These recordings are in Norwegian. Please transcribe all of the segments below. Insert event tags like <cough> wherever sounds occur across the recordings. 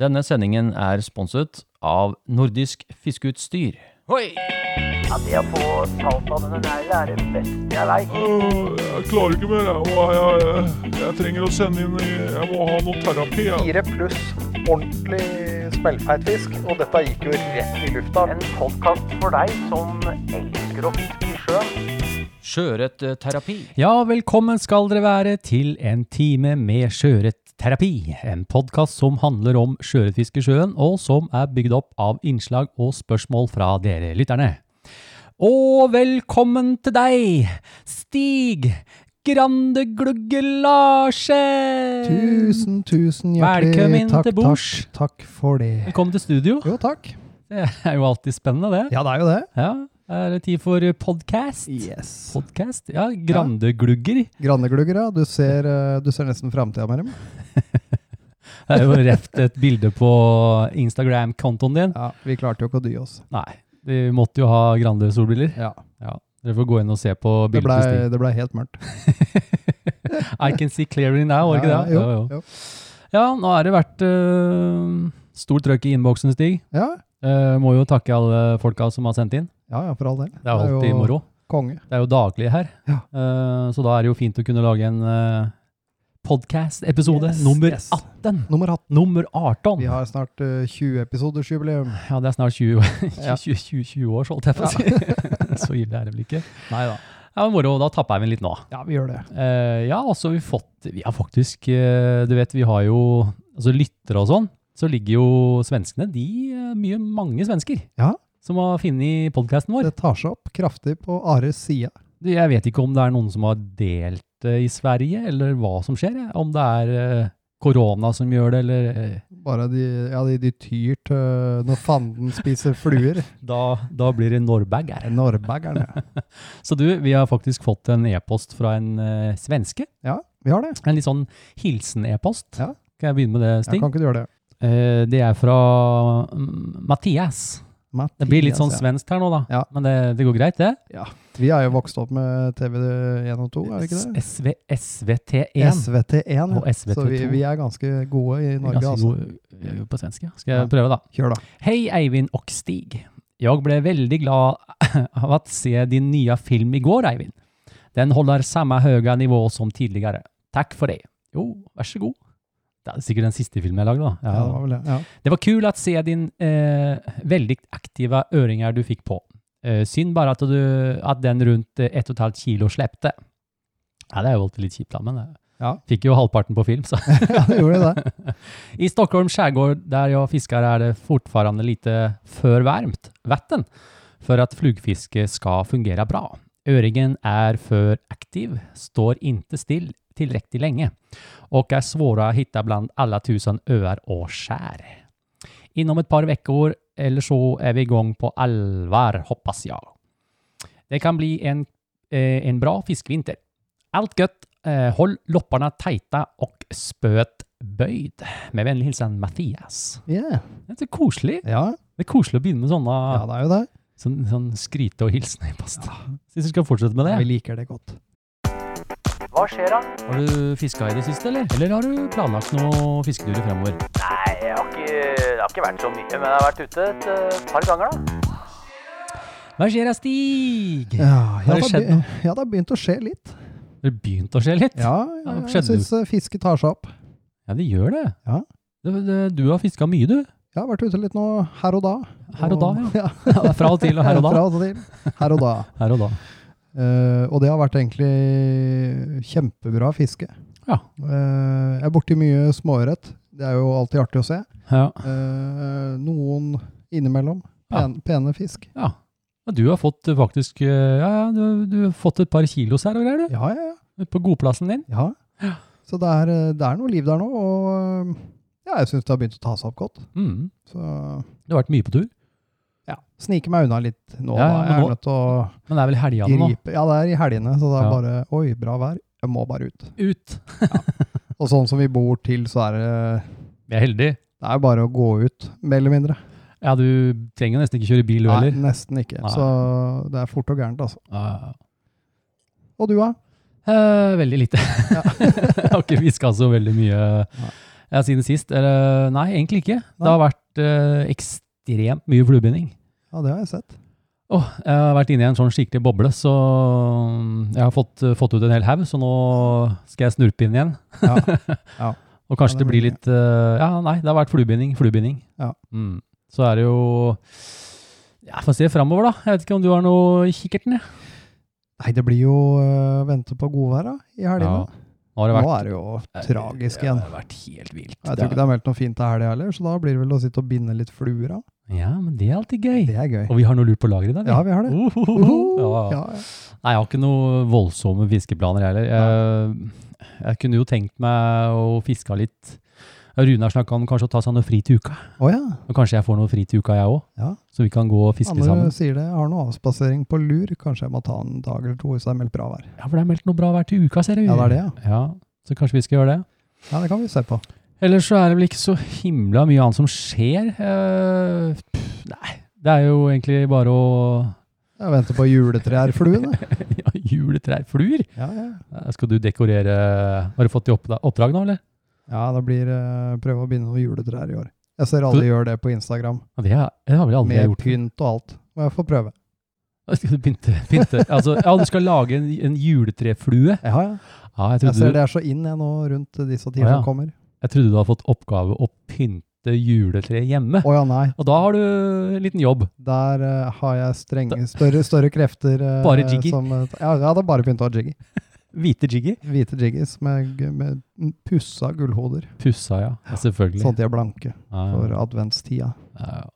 Denne sendingen er sponset av Nordisk Fiskeutstyr. Hoi! Ja, det å få talt av denne neglen er det beste jeg veit. Åh, Øh, Jeg klarer ikke mer. Jeg, må, jeg, jeg, jeg trenger å sende inn i- Jeg må ha noe terapi. Jeg. Fire pluss ordentlig smellfeit fisk, og dette gikk jo rett i lufta. En podkast for deg som elsker å fiske i sjøen. Sjøørretterapi. Ja, velkommen skal dere være til en time med sjøørretterapi. En podkast som handler om sjøørretfiske i sjøen, og som er bygd opp av innslag og spørsmål fra dere lytterne. Og velkommen til deg, Stig Grande Glugge Larsen! Tusen, tusen hjertelig Velkommen takk, til bords. Takk, takk for det. Velkommen til studio. Jo, takk. Det er jo alltid spennende, det. Ja, det er jo det. Ja, Er det tid for podcast? Yes. Podcast? Ja, Grande Glugger. Granneglugger, ja. Du ser, eh, du ser nesten framtida med dem. Det er jo rett et bilde på Instagram-kontoen din. Ja, vi klarte jo ikke å dy oss. Nei, de måtte jo ha Grande solbriller. Ja. Dere får gå inn og se på Det bildet ble, til Stig. det ble helt mørkt. I can see clearly now, var det ikke Ja, det? Jo, jo. Ja, nå har det vært uh, stort trøkk i innboksen, Stig. Ja. Eh, må jo takke alle folka som har sendt inn. ja, ja, for all del. Det er jo alltid moro. Konge. Det er jo daglig her. Ja. Eh, så da er det jo fint å kunne lage en uh, podcast-episode Yes, nummer yes. 18. Nummer 18. Nummer 18. Vi har snart eh, 20 episoders jubileum. Ja, det er snart 20, år- <laughs> 20, Ja. 20, 20, 20 år, så holdt jeg på å si. <laughs> så ille er det vel ikke. Nei da. Ja, men moro. Da tapper jeg meg litt nå. Ja, vi gjør det. Eh, ja, altså vi fått, vi har faktisk, eh, du vet, vi har jo altså lyttere og sånn, så ligger jo svenskene, de eh, mye, mange svensker, Ja. som har funnet podcasten vår. Det tar seg opp kraftig på Ares side. Du, Jeg vet ikke om det er noen som har delt det i Sverige, eller hva som skjer, jeg. om det er eh, korona som gjør det, eller eh, Bare de, ja, de, de tyr til eh, når fanden spiser fluer. <laughs> da, da blir det Norberg her. Norrbaggerne. Så du, vi har faktisk fått en e-post fra en eh, svenske, Ja, vi har det. en litt sånn hilsen-e-post. Ja. Kan jeg begynne med det, Ja, Stig? kan ikke du gjøre det? Eh, det er fra mm, Mathias. Det blir litt sånn Mathias, ja. svensk her nå, da. altså. Ja. Men det, det går greit, det. Vi er jo vokst opp med TV1 og 2, er det ikke det? S- SV, SVT1. SVT1. Og SVT2. E Så vi, vi er ganske gode i Norge, Ganske altså. god ø, ø, på svensk, ja. Skal Ja. jeg prøve, da? Kjør, da. Hei, Eivind og Stig. Jeg ble veldig glad <laughs> av å se din nye film i går, Eivind. Den holder samme høye nivå som tidligere. Takk for det. Jo, vær så god. Det er sikkert den siste filmen jeg lagde, da. Ja, det var vel det. Ja. <laughs> Det var kul att se din eh, väldigt aktiva öringar du fick på. Eh, synd bara att, du, att den runt eh, ett och ett halvt kilo släppte. Ja, det har ju varit lite kjipt, da, men eh, Ja. fick ju halvparten på film. Så. ja, det gjorde det. I Stockholms skärgård där jag fiskar är det fortfarande lite för varmt vatten för att flugfiske ska fungera bra. Öringen är för aktiv, står inte still tillräckligt länge och är svåra att hitta bland alla tusen öar och skär. Inom ett par veckor eller så är vi igång på allvar, hoppas jag. Det kan bli en, eh, en bra fiskvinter. Allt gött! Eh, håll lopparna tajta och spöet böjd. Med vennlig hilsen Mathias. Yeah. Det er så koselig. Ja, Det er koselig å begynne med sånne ja, det er jo det. sånn, sånn skryte og hilsen. i post. Syns du skal fortsette med det. Vi liker det godt. Hva skjer da? Har du fiska i det siste, eller? Eller har du planlagt noen fisketurer fremover? Nei, jeg har ikke, det har ikke vært så mye, men jeg har vært ute et eh, par ganger, da. Hva skjer da, Stig? Ja, ja, det det skjedd be- Ja, det har begynt å skje litt. Det har begynt å skje litt? Ja, Ja, ja det jeg skjedde. syns fisket tar seg opp. Ja, det gjør det. Ja. Det, det, du har fiska mye, du. Jeg har vært ute litt nå, her og da. Her og da, ja. <laughs> ja. <laughs> Ja, det er fra og til og her og <laughs> da. Fra og til. Her og da. Her og da. Eh, og det har vært egentlig kjempebra fiske. Ja. Eh, jeg er borti mye småørret. Det er jo alltid artig å se. Ja. Eh, noen innimellom. Ja. Pen, Pene fisk. ja. Ja, Du har fått eh, faktisk eh, Ja, ja, du, du har fått et par kilos her og greier, du. Ja, ja, ja. Ute På godplassen din. ja. Så det er, eh, det er noe liv der nå, og eh, ja, jeg syns det har begynt å ta seg opp godt. Mm. Så Du har vært mye på tur. ja, snike meg unna litt nå. Ja, da. ja, men jeg er nå- nødt til å Men det er vel helgene nå? gripe Ja, det er i helgene, så det er Ja. bare Oi, bra vær. Jeg må bare ut. Ut! Og sånn som vi bor til, så er det Vi er heldige. det er bare å gå ut, mer eller mindre. Ja, du trenger jo nesten ikke kjøre bil, du heller. Nei, nesten ikke. Nei. Så det er fort og gærent, altså. Ja, ja, ja. Og du, da? <laughs> Eh, veldig lite. jeg har ikke fiska så veldig mye. ja, siden sist. Eller, nei, egentlig ikke. Det har vært eh, ekstremt mye fluebinding. Ja, det har <laughs> jeg sett. Åh, jeg har vært inne i en sånn skikkelig boble, så mm, jeg har fått, eh, fått ut en hel haug, så nå skal jeg snurpe inn igjen. Ja. Ja. Og kanskje Ja, det det blir blir litt eh, Ja, nei, det har vært fluebinding, fluebinding. Ja. Mm. Så er det jo Ja, får se framover, da. Jeg vet ikke om du har noe i kikkerten? jeg. Nei, det blir jo øh, vente på godværet i helgene. Nå har det Nå vært er det jo tragisk igjen. Eh, Det har vært helt vilt. Jeg tror ikke det er meldt noe fint til helga heller, så da blir det vel å sitte og binde litt fluer av. Ja, men det er alltid gøy. Det er gøy. Og vi har noe lurt på lager i dag. <laughs> Ja, vi har det. Uhuhu. Uhu. Uhuh. Ja. Ja, ja. Nei, jeg har ikke noe voldsomme fiskeplaner heller. Jeg, jeg kunne jo tenkt meg å fiske litt. Rune har snakka om kanskje å ta seg noe fri til uka. Å ja. Men kanskje jeg får noe fri til uka, jeg òg. Ja. Så vi kan gå og fiske Andre sammen. sier det. Jeg har noe avspasering på lur. Kanskje jeg må ta en dag eller to hvis det er meldt bra vær. Ja, for det er meldt noe bra vær til uka, ser du. Ja, det er det, ja. Ja, så kanskje vi skal gjøre det. Ja, det kan vi se på. Ellers så er det vel ikke så himla mye annet som skjer. Eh, pff, nei, det er jo egentlig bare å Jeg venter på juletrærfluene. <laughs> ja, juletrær, fluer. Ja, ja. Eh, Skal du dekorere eh, Har du fått i oppda- oppdrag nå, eller? ja, det blir eh, prøve å binde noen juletrær i år. Jeg ser alle Du- gjør det på Instagram, Ja, det, har- det har vel aldri jeg med gjort. pynt og alt. Må jeg få prøve? <laughs> Skal du pynte? pynte? Altså, ja, du skal lage en, en juletreflue. Ja, ja. Ja, jeg Jeg trodde, ser du, det er så inn jeg nå rundt disse Å, tider ja. som kommer. jeg trodde du hadde fått oppgave å pynte juletre hjemme. Å ja, nei. Og da har du en liten jobb. Der eh, har jeg strenge, større, større krefter. eh, Bare jiggy. Som, eh, ja, ja, det er bare pynt og jiggy. Hvite jiggy. Hvite jiggies med, gu- med pussa gullhoder. Pussa, ja. ja selvfølgelig. Sånn at de er blanke Ja, ja. for adventstida. Ja, ja.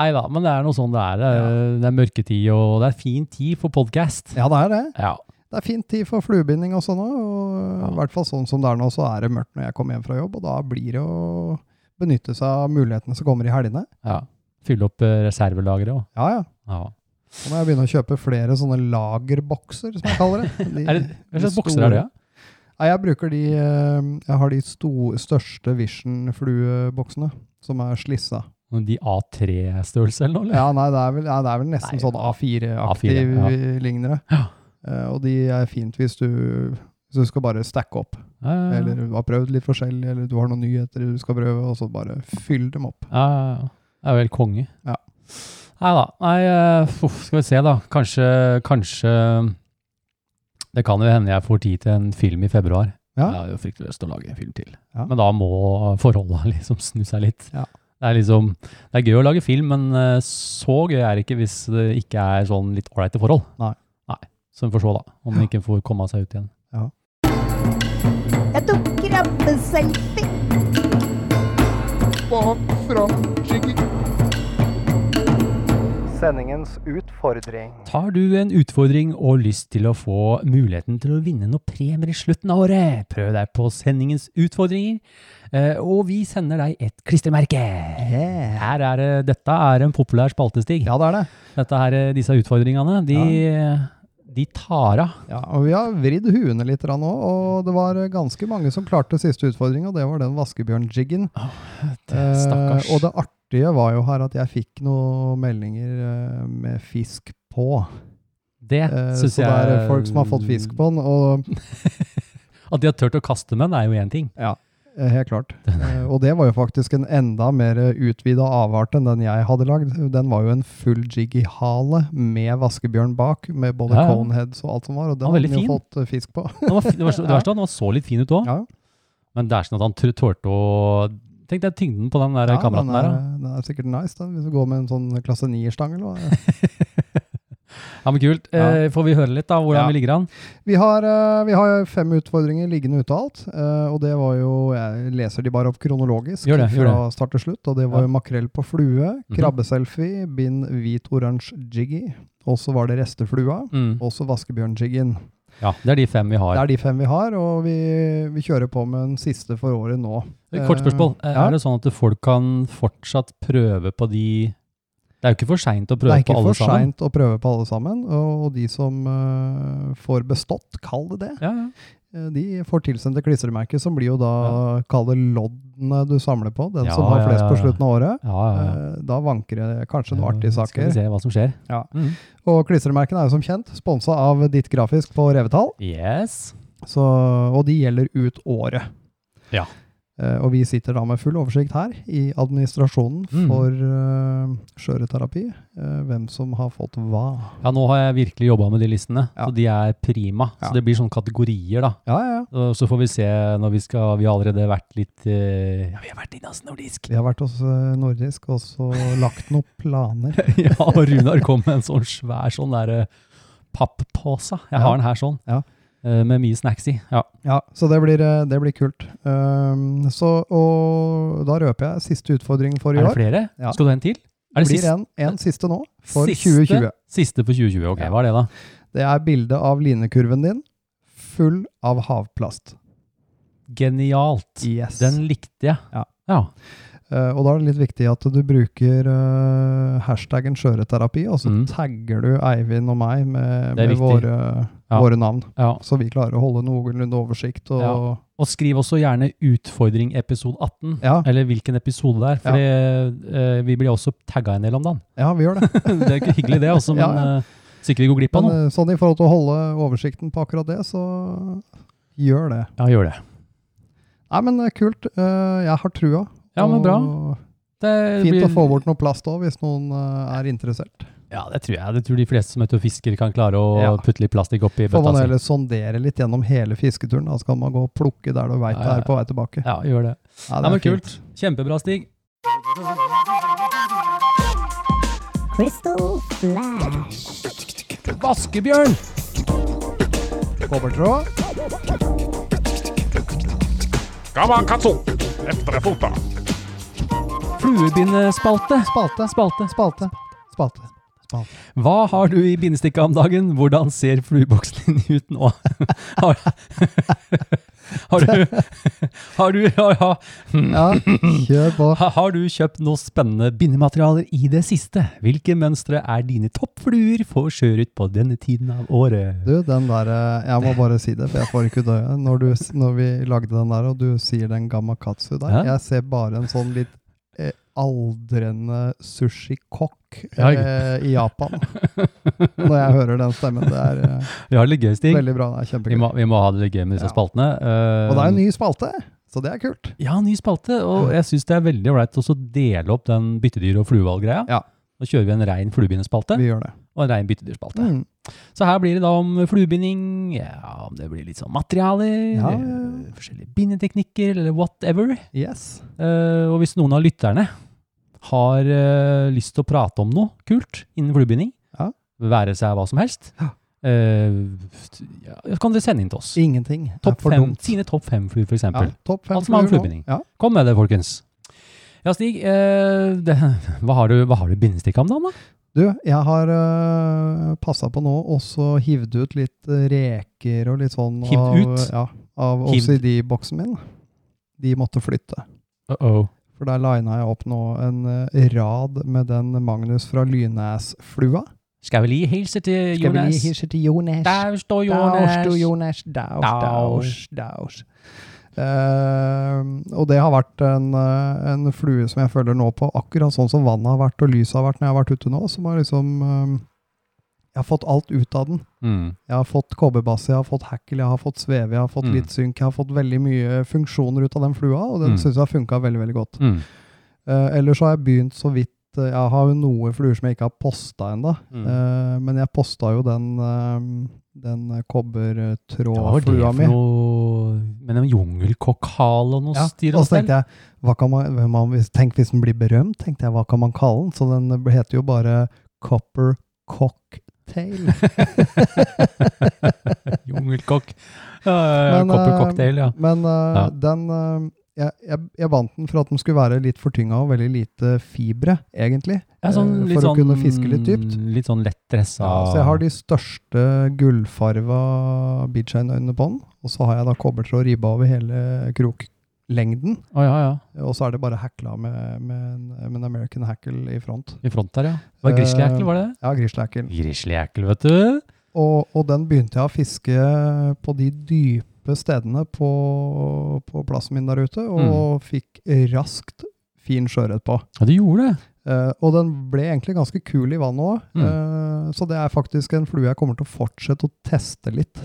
Nei da, men det er noe sånn det er. Det er, det er mørketid, og det er fin tid for podkast. Ja, det er det. Ja. Det er fint tid for fluebinding også nå, og i hvert fall sånn som det er nå, så er det mørkt når jeg kommer hjem fra jobb, og da blir det å benytte seg av mulighetene som kommer i helgene. ja. Fylle opp eh, reservelageret òg. Ja, ja. Ja. Så må jeg begynne å kjøpe flere sånne lagerbokser, som jeg kaller det. De, <laughs> Er det- Hva slags de bokser er det? store- Nei, jeg bruker de eh, Jeg har de sto, største Vision-flueboksene, som er slissa. ja? De A3-størrelse eller noe? Eller? Ja, nei, det er vel, ja, det er vel nesten Nei, sånn A4-aktig A4, lignende. Ja. Eh, og de er fint hvis du, hvis du skal bare stacke opp. Ja, ja, ja. Eller du har prøvd litt forskjellig, eller du har noen nyheter du skal prøve, og så bare fyll dem opp. Ja, ja, ja. det er jo helt konge. Ja. Nei da. Nei, eh, uff, skal vi se, da. Kanskje, kanskje Det kan jo hende jeg får tid til en film i februar. Ja. Jeg har jo fryktelig lyst til å lage en film til. Ja. Men da må forholda <laughs> liksom snu seg litt. Ja. Det er liksom, det er gøy å lage film, men eh, så gøy er det ikke hvis det ikke er sånn litt ålreite forhold. Nei. Så vi får se, da. Om den ikke får komme seg ut igjen. Jeg tok krabbeselfie. Sendingens utfordring. Tar du en utfordring og lyst til å få muligheten til å vinne noen premier i slutten av året, prøv deg på sendingens utfordringer, eh, og vi sender deg et klistremerke. Her er, det- dette er en populær spaltestig. Ja, det er det. Dette her, eh, disse utfordringene, de, de tar av. Ja, og vi har vridd huene litt nå, og det var eh, ganske mange som klarte siste utfordring, og det var den vaskebjørn-jiggen. Stakkars. Eh, og det artige var jo her at jeg fikk noen meldinger eh, med fisk på. det Eh, synes så jeg det er eh, folk som har fått fisk på den, og At de har tørt å kaste med den, er jo én ting. eh, helt <laughs> klart. Eh, og det var jo faktisk en enda mer utvida avart enn den jeg hadde lagd. Den var jo en full jiggy-hale med vaskebjørn bak, med både Ja, ja. coneheads og alt som var, og den Ja, hadde veldig den jo fin. fått eh, fisk på. Den var, fi- <laughs> det var så- det verste var at den var så litt fin ut òg, ja, men det er sånn at han tør- tørte å Tenk deg tyngden på den der ja, kameraten den, der. er, da. den er sikkert nice, den, hvis du går med en sånn klasse 9-stang eller hva. Ja, men kult. Eh, får vi høre litt da, hvordan Ja. vi ligger an? Vi har, eh, vi har fem utfordringer liggende ute av alt, eh, og det var jo Jeg leser de bare opp kronologisk Gjør det, gjør fra start til slutt, og det var Ja. jo makrell på flue, Mhm. krabbeselfie, bind hvit-oransje jiggy, og så var det resteflua, Mm. og så vaskebjørnjiggen. Ja, det er de fem vi Det har. er de fem vi har, og vi, vi kjører på med den siste for året nå. Kort spørsmål. Eh, Er ja. det sånn at folk kan fortsatt prøve på de Det er jo ikke for seint å Det prøve er på ikke alle for sammen. seint å prøve på alle sammen, og og de som eh, får bestått, kall det det, Ja, ja. Eh, De får tilsendt et klistremerke, som blir jo da Kall det loddene du samler på. Den Ja, som har ja, flest på ja. slutten av året. ja, ja, ja. Eh, Da vanker det kanskje noen artige Skal vi saker. se hva som skjer. Ja. Mm. Og klistremerkene er jo som kjent sponsa av Ditt Grafisk på Revetal, Yes. så, og de gjelder ut året. Ja. Eh, Eh, Og vi sitter da med full oversikt her i administrasjonen Mm. for eh, skjøreterapi. eh, hvem som har fått hva. Ja, nå har jeg virkelig jobba med de listene, Ja. så de er prima. Ja. Så det blir sånne kategorier, da. Ja, ja, ja. Og Så får vi se når vi skal Vi har allerede vært litt eh, Ja, vi har vært innom nordisk. Vi har vært hos eh, Nordisk og så lagt noen planer. <laughs> Ja, og Runar kom med en sånn svær sånn derre papppose. Jeg Ja. har den her sånn. Ja. Eh, Med mye snacks i. Ja. Ja, så det blir, eh, det blir kult. Um, så, og da røper jeg siste utfordring for i Er det år. flere? Ja. Skal du ha en til? Er det blir siste? en, en siste nå, for Siste? 2020. Siste for 2020. Ok, Ja. hva er det, da? Det er bilde av linekurven din, full av havplast. Genialt. Yes. Den likte jeg. Ja. ja. Eh, og da er det litt viktig at du bruker eh, hashtaggen skjøreterapi, og så Mm. tagger du Eivind og meg Det er med, med viktig. våre, Ja. våre navn. ja. Så vi klarer å holde noenlunde oversikt. Og, Ja. Og skriv også gjerne utfordring episode 18, Ja. eller hvilken episode det er, for det, eh, vi blir også tagga en del om dagen. <laughs> ja, vi gjør det. det er ikke hyggelig det også, men Ja, ja. eh, så ikke vi går glipp av Men noe. eh, sånn i forhold til å holde oversikten på akkurat det, så gjør det. Ja, gjør det. Nei, men eh, kult. Eh, jeg har trua. Ja, men bra. Og Det Fint blir- å få bort noe plast òg, hvis noen eh, er interessert. Ja, det tror jeg. Det tror de fleste som er ute og fisker kan klare å Ja. putte litt plastikk oppi Får bøtta man si. heller sondere litt gjennom hele fisketuren. Da skal man gå og plukke der du veit Ja, det ja, er på vei tilbake. Ja, gjør det. det Nei, men er fint. kult. Kjempebra, Stig. Crystal Flash. Vaskebjørn! Kobbertråd. Kamakatsu! Efter fota. Fluebindespalte. Spalte. Spalte. Spalte. <laughs> Spalte. Spalte. Hva har du i bindestikka om dagen? Hvordan ser flueboksen din ut nå? <laughs> Har, har, du, har, du, ja, ja. Ja, kjør på. Ha- har du kjøpt noe spennende bindematerialer i det siste? Hvilke mønstre er dine toppfluer for sjøørret på denne tiden av året? Du, den der eh, Jeg må bare si det, for jeg får ikke ut øyet. Når, du, s- når vi lagde den der, og du sier den gammakatsu der, Ja. jeg ser bare en sånn litt eh, aldrende sushikokk Ja, eh, i Japan. Når jeg hører den stemmen. Det er eh, Vi har det litt gøy, Stig. veldig bra. Det er Vi kjempegøy. må, vi må ha det litt gøy med disse Ja. spaltene. Eh, Og det er en ny spalte, så det er kult. Ja, ny spalte. Og jeg syns det er veldig ålreit også å dele opp den byttedyr- og fluevalggreia. Ja. Nå kjører vi en rein fluebindespalte Vi gjør det. og en rein byttedyrspalte. Mm. Så her blir det da om fluebinding, ja, om det blir litt sånn materialer, Ja, ja, ja. eh, forskjellige bindeteknikker, eller whatever. Yes. Eh, og hvis noen av lytterne har eh, lyst til å prate om noe kult innen fluebinding, Ja. være seg hva som helst, Ja. eh, ja, så kan dere sende inn til oss. Ingenting er Topp for fem, dumt. sine topp fem fluer, for Ja, eksempel. topp fem Alt som har med fluer nå. fluebinding. Ja. Kom med det, folkens. Ja, Stig, eh, det, <laughs> hva har du, hva har du bindestikka om dagen, da? Du, jeg har uh, passa på nå og så hivd ut litt øh, reker og litt sånn Hivd av, ut? Ja, av Hivd. OCD-boksen min. De måtte flytte. Uh-oh. For der lina jeg opp nå en øh, rad med den Magnus fra Lynæs-flua. Skal vi li hilse til Eh, Jonas? til Jonas? Der står Daus, du, Jonas. Jonas. Daus, daus, Daus. daus. Eh, og det har vært en, eh, en flue som jeg føler nå på, akkurat sånn som vannet har vært og lyset har vært når jeg har vært ute nå, som har liksom eh, Jeg har fått alt ut av den. Mm. Jeg har fått kobberbass, jeg har fått hackle, jeg har fått sveve, jeg har fått Mm. litt synk, jeg har fått veldig mye funksjoner ut av den flua, og den Mm. synes jeg har funket veldig, veldig godt. Mm. Eh, ellers så har jeg begynt så vidt, eh, jeg har jo noen fluer som jeg ikke har postet enda, Mm. eh, men jeg postet jo den, eh, den Hva var det kobbertrådflua for mi. noe Men en jungelkokkhale og noe Ja, styr og så tenkte jeg, hva kan man, hvem man, hvis- tenk hvis den blir berømt, tenkte jeg, hva kan man kalle den? Så den eh, heter jo bare Copper <laughs> Cocktail. <laughs> Jungelkokk. Ja, ja, ja, Men, Copper eh, cocktail, ja. Men eh, Ja. den eh, jeg, jeg, jeg vant den for at den skulle være litt fortynga og veldig lite fibre, egentlig. ja sånn, eh, litt for å sånn, kunne fiske litt dypt. Litt sånn lett dressa Ja, så jeg har de største gullfarva beachhain-øynene på den. Og så har jeg da kobbertråd ribba over hele kroklengden. Å, ja, ja. Og så er det bare hackla med, med, en, med en American hackle i front. I front der, ja. Det var grizzlyhackel, var det det? Ja, grislehackel. Grizzlyhackel, vet du. Og, og den begynte jeg å fiske på de dype stedene på, på plassen min der ute, og fikk raskt fin sjøørret på. Ja, du gjorde det. Eh, og den ble egentlig ganske kul i Eh, vannet òg, Mm. så det er faktisk en flue jeg kommer til å fortsette å teste litt.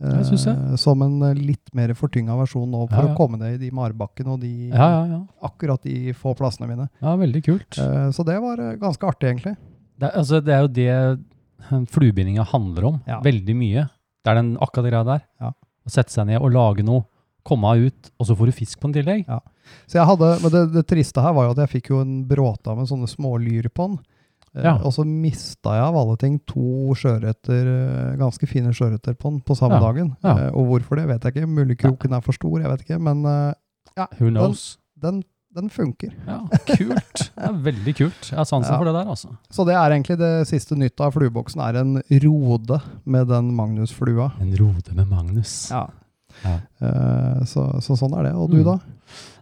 Det syns jeg. Eh, Som en eh, litt mer fortynga versjon nå, for Ja, ja. å komme ned i de marbakkene og de, Ja, ja, ja. akkurat de få plassene mine. ja veldig kult. Eh, Så det var eh, ganske artig, egentlig. Det, er- altså, det er jo det fluebindinga handler om, Ja. veldig mye. Det er den akkurat det greia der. Ja. Å sette seg ned og lage noe, komme ut, og så får du fisk på en tillegg. Så jeg hadde, men det, det triste her var jo at jeg fikk jo en bråta med sånne smålyr på den. Eh, Ja. Og så mista jeg av alle ting to sjøørreter, eh, ganske fine sjøørreter på den på samme Ja. dagen. Ja. Eh, Og hvorfor det, vet jeg ikke. Mulig kroken er for stor, jeg vet ikke. Men eh, Who knows? den, den funker. Ja, kult. Det er veldig kult. Jeg har sansen Ja. for det der, altså. Så det er egentlig det siste nytt av flueboksen, er en rode med den Magnus-flua. En rode med Magnus. Ja. Ja. Eh, Så, så sånn er det. Og du, Mm. da?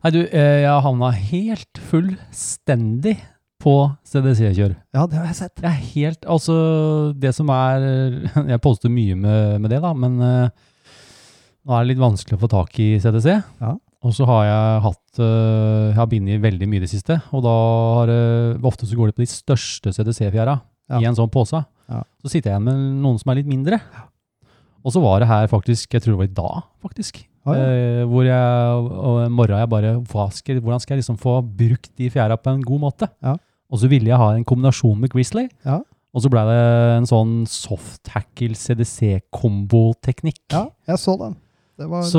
Nei, du, eh, jeg havna helt fullstendig på CDC-kjør. Ja, det har jeg sett. Det er helt Altså, det som er <laughs> Jeg poster mye med, med det, da, men eh, nå er det litt vanskelig å få tak i CDC. Ja. Og så har jeg hatt eh, Jeg har bindet veldig mye i det siste, og da har eh, Ofte så går det på de største CDC-fjæra Ja. i en sånn pose. Ja. Så sitter jeg igjen med noen som er litt mindre. Og så var det her faktisk Jeg tror det var i dag, faktisk. Ja, ja. Eh, hvor jeg, og en morgen jeg bare hva skal, Hvordan skal jeg liksom få brukt de fjæra på en god måte? Ja. Og så ville jeg ha en kombinasjon med Grizzly. Ja. Og så ble det en sånn soft hackle CDC-komboteknikk. Ja, jeg så den. Det var, Så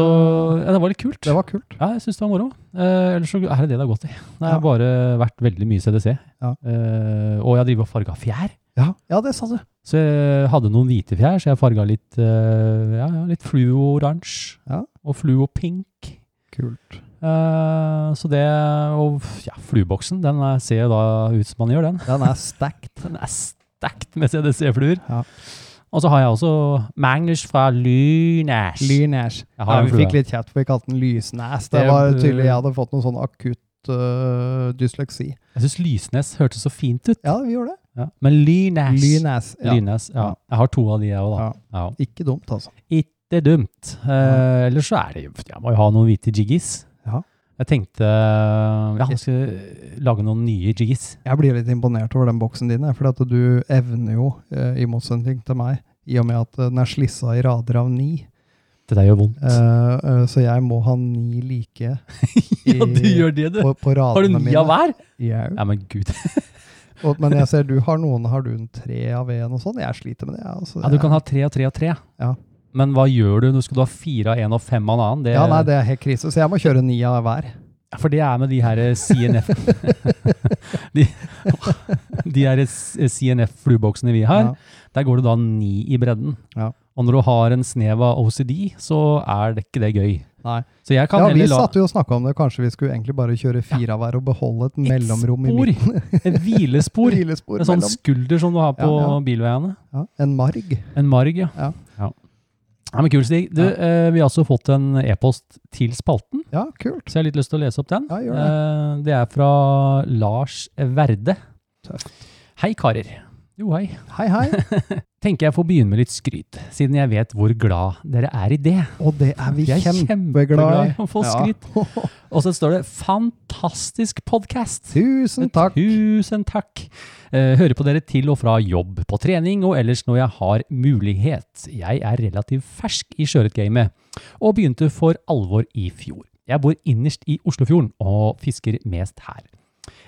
ja, det var litt kult. det var kult. Ja, jeg syns det var moro. Eh, ellers så er det det det har gått i. Det har Ja. bare vært veldig mye CDC. Ja. Eh, og jeg driver og farga fjær. Ja, ja det sa du. Så jeg hadde noen hvite fjær, så jeg farga litt, eh, ja, ja, litt fluo-oransje Ja. og fluo-pink. Kult. Eh, så det Og ja, flueboksen, den er, ser jo da ut som man gjør, den. Den er stacked. <laughs> Den er stacked med CDC-fluer. Ja. Og så har jeg også Magnus fra Lynash. Lynæsj. Jeg Ja, har en vi fikk flue. litt kjeft for vi kalte den Lysnæs. Det Det var bør- tydelig jeg hadde fått noe sånn akutt øh, dysleksi. Jeg syns Lysnes hørtes så fint ut. Ja, vi gjorde det. Ja. Men Lynash Lynæs. Ja. Lynes, ja. Ja. Jeg har to av de, jeg òg, da. Ja. Ikke dumt, altså. Ikke dumt. Eh, ellers så er det jo Jeg må jo ha noen hvite jiggis. Ja. Jeg tenkte eh, ja, jeg skal lage noen nye jiggis. Jeg blir litt imponert over den boksen din, for at du evner jo, eh, i motsetning til meg, i og med at eh, den er slissa i rader av ni, Det der gjør vondt. Eh, eh, så jeg må ha ni like <laughs> ja, du gjør det, du. på, på Har du radene ni av mine. hver? Jau. Ja, men gud. Og, men jeg ser du har noen, har du en tre av en og sånn? Jeg sliter med det. jeg, Altså, Ja, du kan ha tre og tre og tre. Ja. Men hva gjør du når skal du ha fire av en og fem av en annen? Det, ja, nei, det er helt krise, så jeg må kjøre ni av hver. For det er med de her eh, CNF <laughs> De, de her eh, CNF-flueboksene vi har, Ja. der går det da ni i bredden. Ja. Og når du har en snev av OCD, så er det ikke det gøy. Nei. Så jeg kan ja, vi heller la satt jo og snakka om det. Kanskje vi skulle egentlig bare kjøre fire av hver og beholde et mellomrom i midten. et <laughs> hvilespor. Hvilespor En sånn mellom. skulder som du har på Ja, ja. bilveiene. Ja, en marg. En marg, ja. Ja. ja. Ja, men kul Stig. Du, Ja. eh, vi har også fått en e-post til spalten, Ja, kult. så jeg har litt lyst til å lese opp den. Ja, Eh, gjør det. det er fra Lars Verde. Hei, karer. Jo, hei. Hei, hei. Tenker jeg får begynne med litt skryt, siden jeg vet hvor glad dere er i det. Og det er vi Vi er kjempeglade i. kjempeglade i å få skryt. Og så står det 'Fantastisk podkast'. <laughs> Tusen Eh, takk. Tusen takk. Eh, Hører på dere til og fra jobb, på trening og ellers når jeg har mulighet. Jeg er relativt fersk i sjøørretgamet og begynte for alvor i fjor. Jeg bor innerst i Oslofjorden og fisker mest her.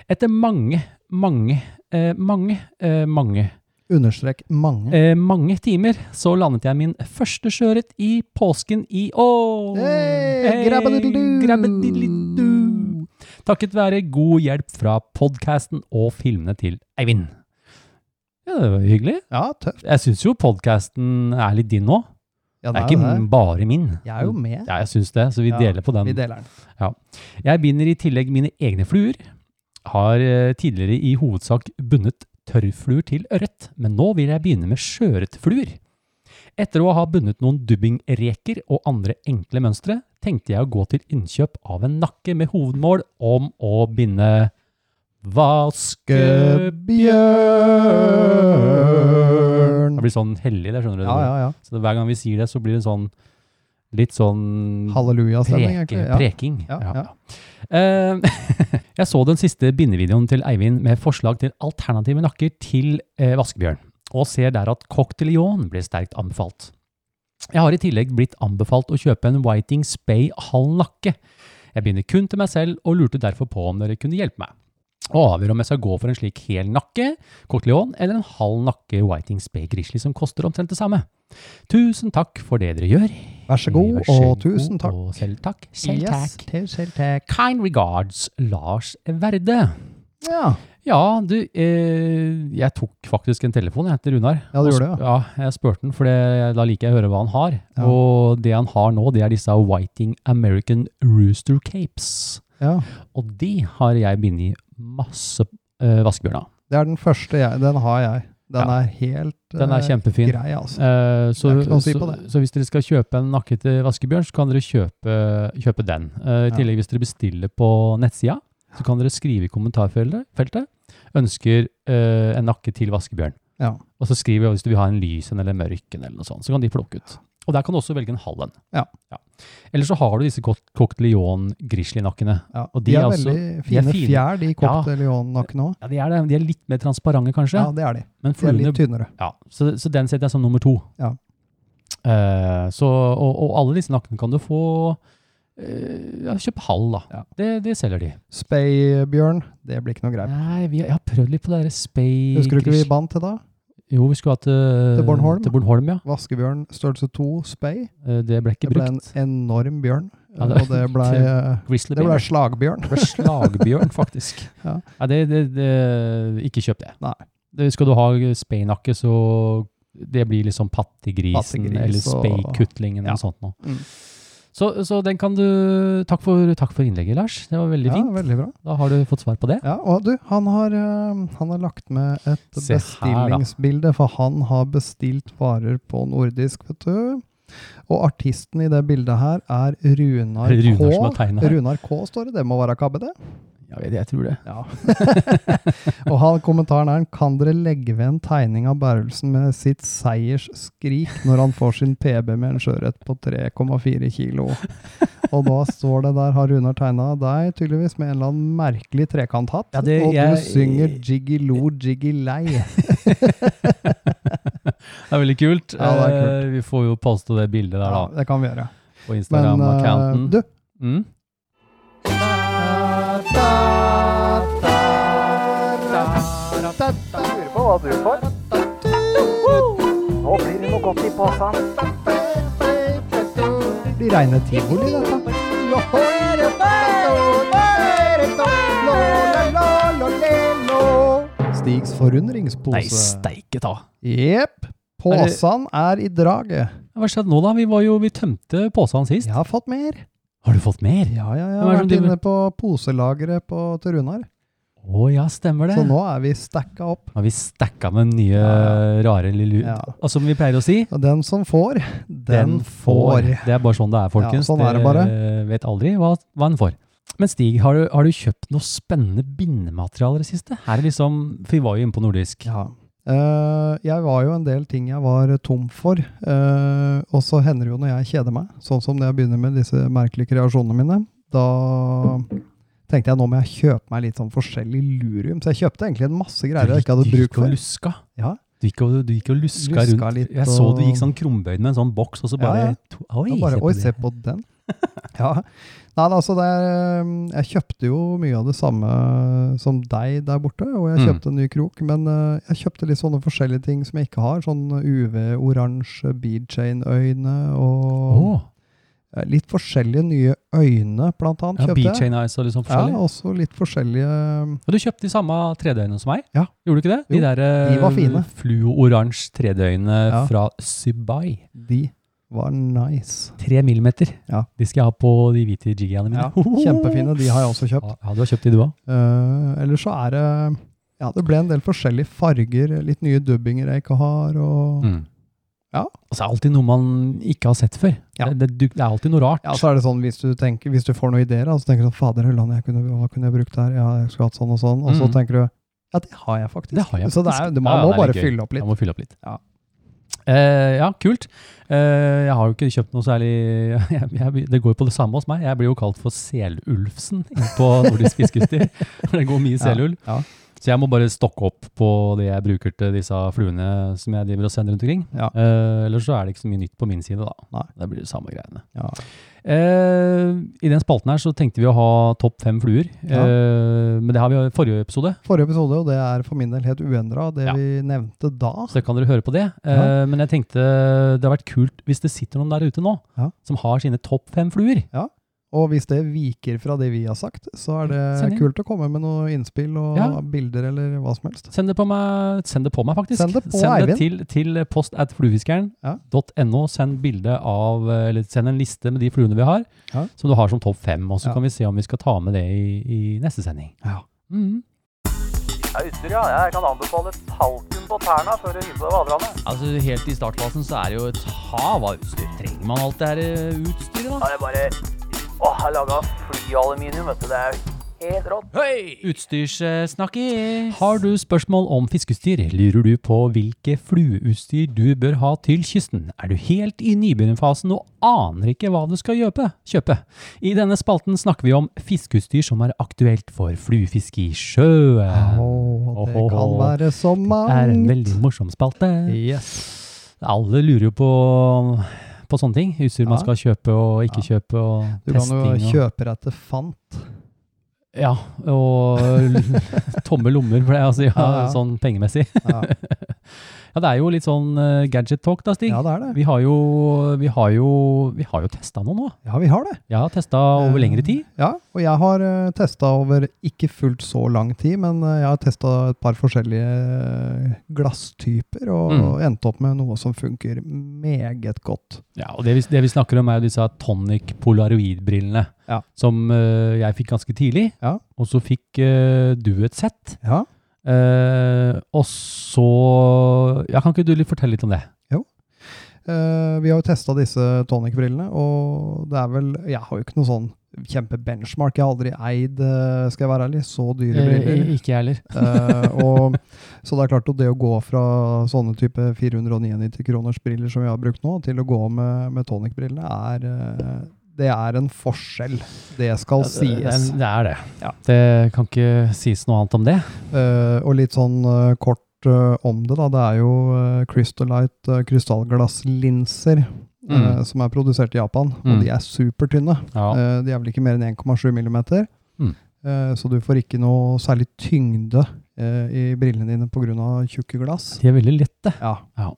Etter mange, mange, eh, mange, eh, mange, Understrek mange. eh, mange timer så landet jeg min første sjøørret i påsken i år. Hey, grabbediddelidu. grabbediddelidu. Takket være god hjelp fra podkasten og filmene til Eivind. Ja, det var hyggelig. Ja, tøft. Jeg syns jo podkasten er litt din òg. Ja, Det er jo ikke bare min. Jeg er jo med. Ja, jeg syns det, så vi Ja, deler på den. Vi deler den. Jeg binder i tillegg mine egne fluer. Har eh, tidligere i hovedsak bundet tørrfluer til ørret, men nå vil jeg begynne med sjøørretfluer. Etter å ha bundet noen dubbingreker og andre enkle mønstre, tenkte jeg å gå til innkjøp av en nakke med hovedmål om å binde vaskebjørn. Gebjørn. Det blir sånn hellig, det skjønner du. Ja, ja, ja. Så hver gang vi sier det, så blir det en sånn litt sånn Halleluja-stemning, Preke, egentlig. Ja. Preking. Ja, ja. Eh, <laughs> jeg så den siste bindevideoen til Eivind med forslag til alternative nakker til eh, vaskebjørn, og ser der at Coq de Lion blir sterkt anbefalt. Jeg har i tillegg blitt anbefalt å kjøpe en Whiting Spay halv nakke. Jeg begynner kun til meg selv, og lurte derfor på om dere kunne hjelpe meg. Og avgjør om jeg skal gå for en slik hel nakke, Cotillon, eller en halv nakke Whiting Spay Grizzly som koster omtrent det samme. Tusen takk for det dere gjør. Vær så god, Vær så og god, tusen takk. Og selv takk. Yes, til selv takk. Kind regards, Lars Verde. Ja. Ja, du, eh, jeg tok faktisk en telefon jeg, til Runar. Ja, du Og gjorde det, sp- Ja, jeg spurte han, for det, da liker jeg å høre hva han har. Ja. Og det han har nå, det er disse Whiting American Rooster Capes. ja. Og de har jeg bindet masse eh, vaskebjørn av. Det er den første jeg Den har jeg. Den Ja. er helt Den er eh, kjempefin. grei, altså. Eh, så, Det er ikke noe å si så, på det. så hvis dere skal kjøpe en nakkete vaskebjørn, så kan dere kjøpe, kjøpe den. Eh, I Ja. tillegg, hvis dere bestiller på nettsida, så kan dere skrive i kommentarfeltet feltet, 'ønsker eh, en nakke til vaskebjørn'. Ja. Og så skriver vi hvis du vil ha en lys en eller en mørk en, eller noe sånt, så kan de plukke ut. Og der kan du også velge en halv en. Ja. Eller så har du disse Coq Leon Grizzly-nakkene. Ja. og De, de er er altså- veldig de er fine, fine. fjær, de Ja. cocktail-nakkene òg. Ja, de er det. De er litt mer transparente, kanskje. Ja, det er de. men De er fluene litt tynnere. Ja, så, så den setter jeg som nummer to. Ja. Eh, så, og, og alle disse nakkene kan du få eh, ja, Kjøp halv, da. Ja. Det, det selger de. Speibjørn, det blir ikke noe greit. Nei, vi, jeg har prøvd litt på det der Spay... Husker du ikke vi bandt til da? Jo, vi skulle ha til, Til Bornholm? Til Bornholm, ja. Vaskebjørn størrelse 2 spei. Eh, Det ble ikke Det ble en brukt. enorm bjørn, Ja, det- og det <laughs> ble, Grizzly det ble Bear. slagbjørn. <laughs> Det ble slagbjørn, faktisk. <laughs> Ja. Nei, det, det, det, ikke kjøp det. Nei. Det, skal du ha spaynakke, så det blir liksom pattegrisen Pattegris eller og- spaykutlingen Ja. eller sånt noe. Mm. Så, så den kan du takk for, takk for innlegget, Lars. Det var veldig Ja, fint. veldig bra. Da har du fått svar på det. Ja, og du, han har, eh, han har lagt med et Se her, da. bestillingsbilde, for han har bestilt varer på nordisk, vet du. Og artisten i det bildet her er Runar K. Runar som har tegnet her. Runar K står det, det må være kabbe det. Jeg, vet, jeg tror det. Og han, kommentaren er Kan dere legge ved en tegning av Berlsen med sitt seiersskrik når han får sin PB med en sjøørret på 3,4 kilo? Og da står det der, har Runar tegna deg tydeligvis med en eller annen merkelig trekanthatt, Ja, det- og du jeg- synger jiggy lo, jiggy lei. Det er veldig kult. Ja, det er kult. Eh, Vi får jo poste det bildet der Ja, da, det kan vi gjøre. på Men Instagram-accounten. eh, du, mm? Lurer på hva du får. Nå blir det noe godt i posen. de reine tivoli, dette. Stigs Nei, forundringspose. steike ta! Jepp. Posen er i draget. Hva skjedde nå, da? Vi, var jo, vi tømte posen sist. Jeg har fått mer. Har du fått mer? Ja, ja, ja. Hvem er det som Vært driver- inne på poselageret på, til Runar. Å ja, stemmer det. Så nå er vi stacka opp. Har vi stacka med nye Ja, rare lille Ja. Og som vi pleier å si, Og den som får, den, får. Det er bare sånn det er, folkens. sånn er det Dere vet aldri hva, hva en får. Men Stig, har du, har du kjøpt noe spennende bindemateriale i det siste? Her er liksom, For vi var jo inne på nordisk. Ja. Eh, jeg var jo en del ting jeg var tom for. eh, og så hender det jo når jeg kjeder meg, sånn som når jeg begynner med disse merkelige kreasjonene mine, da tenkte jeg nå må jeg kjøpe meg litt sånn forskjellig lurium. Så jeg kjøpte egentlig en masse greier jeg ikke du hadde gikk bruk og for. luska. Ja. Du gikk og, du gikk og luska, Luska rundt. litt jeg så du og- gikk sånn krumbøyd med en sånn boks, og så Ja, bare ja. to, Oi, Og bare, se på Oi, det. se på den. <laughs> ja. Nei, da, altså det er, um, jeg kjøpte jo mye av det samme som deg der borte, og jeg Mm. kjøpte en ny krok, men uh, jeg kjøpte litt sånne forskjellige ting som jeg ikke har, sånn UV-oransje beadchain-øyne og Å, eh, litt forskjellige nye øyne, blant annet, ja, kjøpte jeg. Beachain Eyes og litt sånn Ja, forskjellig. også litt forskjellige um, Og du kjøpte de samme 3D-øynene som meg? Ja. Gjorde du ikke det? Jo, de der eh, de var fine. fluo-oransje 3D-øynene Ja. fra Subai. De var nice. Tre millimeter. Ja. De skal jeg ha på de hvite jiggyene mine. Ja, kjempefine. De har jeg også kjøpt. Ja, du har kjøpt de du òg? Uh, Eller så er det Ja, det ble en del forskjellige farger, litt nye dubbinger jeg ikke har, og Ja. Og så er det alltid noe man ikke har sett før. Ja. Det, det, det er alltid noe rart. Ja, så er det sånn hvis du, tenker, hvis du får noen ideer, da, så tenker du sånn Fader, Ulland, jeg kunne, hva kunne jeg brukt der? Ja, jeg skulle hatt sånn og sånn. Og så Mhm. tenker du Ja, det har jeg faktisk. Det har jeg Så det er, faktisk. du, man Ja, ja, må det er bare gøy. fylle opp litt. Jeg må fylle opp litt. Ja. Eh, ja, kult. Eh, jeg har jo ikke kjøpt noe særlig <laughs> jeg, jeg, Det går jo på det samme hos meg. Jeg blir jo kalt <laughs> for Selulfsen inn på Nordisk fiskeutstyr. det går mye Ja, selull. ja. Så jeg må bare stokke opp på det jeg bruker til disse fluene som jeg driver og sender rundt omkring. Ja. Eh, ellers så er det ikke så mye nytt på min side, da. Nei. Det blir det samme greiene. Ja. Eh, I den spalten her så tenkte vi å ha topp fem fluer. Ja. Eh, men det har vi jo i forrige episode, Forrige episode, og det er for min del helt uendra, det Ja. vi nevnte da. så det kan dere høre på det. Eh, Men jeg tenkte det har vært kult hvis det sitter noen der ute nå Ja. som har sine topp fem fluer. Og hvis det viker fra det vi har sagt, så er det Send inn. kult å komme med noen innspill og Ja. bilder eller hva som helst. Send det på meg, send det på meg faktisk. Send det på Eivind. til, til post at fluefiskeren.no. Send, bilde av, eh, eller send en liste med de fluene vi har, Ja. som du har som topp fem. Og så Ja. kan vi se om vi skal ta med det i, i neste sending. Ja. Mhm. Ja, utstyr, ja. Jeg kan anbefale talken på tærne før du hiver på deg vaderne. Altså, Helt i startfasen så er det jo et hav av utstyr. Trenger man alt det her eh, utstyret, da? Da er det bare Åh, jeg laga flyaluminium, vet du. Det er helt rått. Utstyrssnakkis! Har du spørsmål om fiskeutstyr? Lurer du på hvilke flueutstyr du bør ha til kysten? Er du helt i nybegynnerfasen og aner ikke hva du skal kjøpe? kjøpe? I denne spalten snakker vi om fiskeutstyr som er aktuelt for fluefiske i sjøen. Å, det kan Åhåhå. være så Det er en mangt. veldig morsom spalte. Yes. Alle lurer jo på, på sånne ting. Utstyr man Ja. skal kjøpe og ikke kjøpe, og Du kan testing. jo og- kjøpe deg til <laughs> fant. Ja, og <laughs> tomme lommer, for det, altså, ja, Ja, ja. sånn pengemessig. Ja. Ja, det er jo litt sånn eh, gadget talk da, Stig. ja, det er det. Vi har jo, vi har jo, vi har jo testa noe nå. Ja, vi har det. Jeg har testa over Eh, lengre tid. Ja, og jeg har uh, testa over ikke fullt så lang tid, men eh, jeg har testa et par forskjellige eh, glasstyper og Mm. endt opp med noe som funker meget godt. Ja, og det vi, det vi snakker om, er jo disse tonic polaroid-brillene. Ja. Som eh, jeg fikk ganske tidlig. Ja. Og så fikk eh, du et sett. Ja, Eh, og så ja, Kan ikke du litt fortelle litt om det? Eh, vi har jo testa disse tonicbrillene, og det er vel Jeg har jo ikke noe sånn kjempebenchmark. Jeg har aldri eid, eh, skal jeg være ærlig, så dyre briller. Eh, ikke jeg heller. Eh, og, så det er klart at det å gå fra sånne type 499 kroners briller som vi har brukt nå, til å gå med, med tonicbrillene, er eh, det er en forskjell. Det skal Ja, det- sies. Eh, Det, det er det. Ja. Det kan ikke sies noe annet om det. Eh, og litt sånn eh, kort eh, om det, da. Det er jo eh, Crystallite eh, krystallglasslinser eh, Mm. som er produsert i Japan, Mm. og de er supertynne. Ja. Eh, de er vel ikke mer enn 1,7 millimeter. Mm. Eh, så du får ikke noe særlig tyngde eh, i brillene dine pga. tjukke glass. De er veldig lette. Ja. Ja.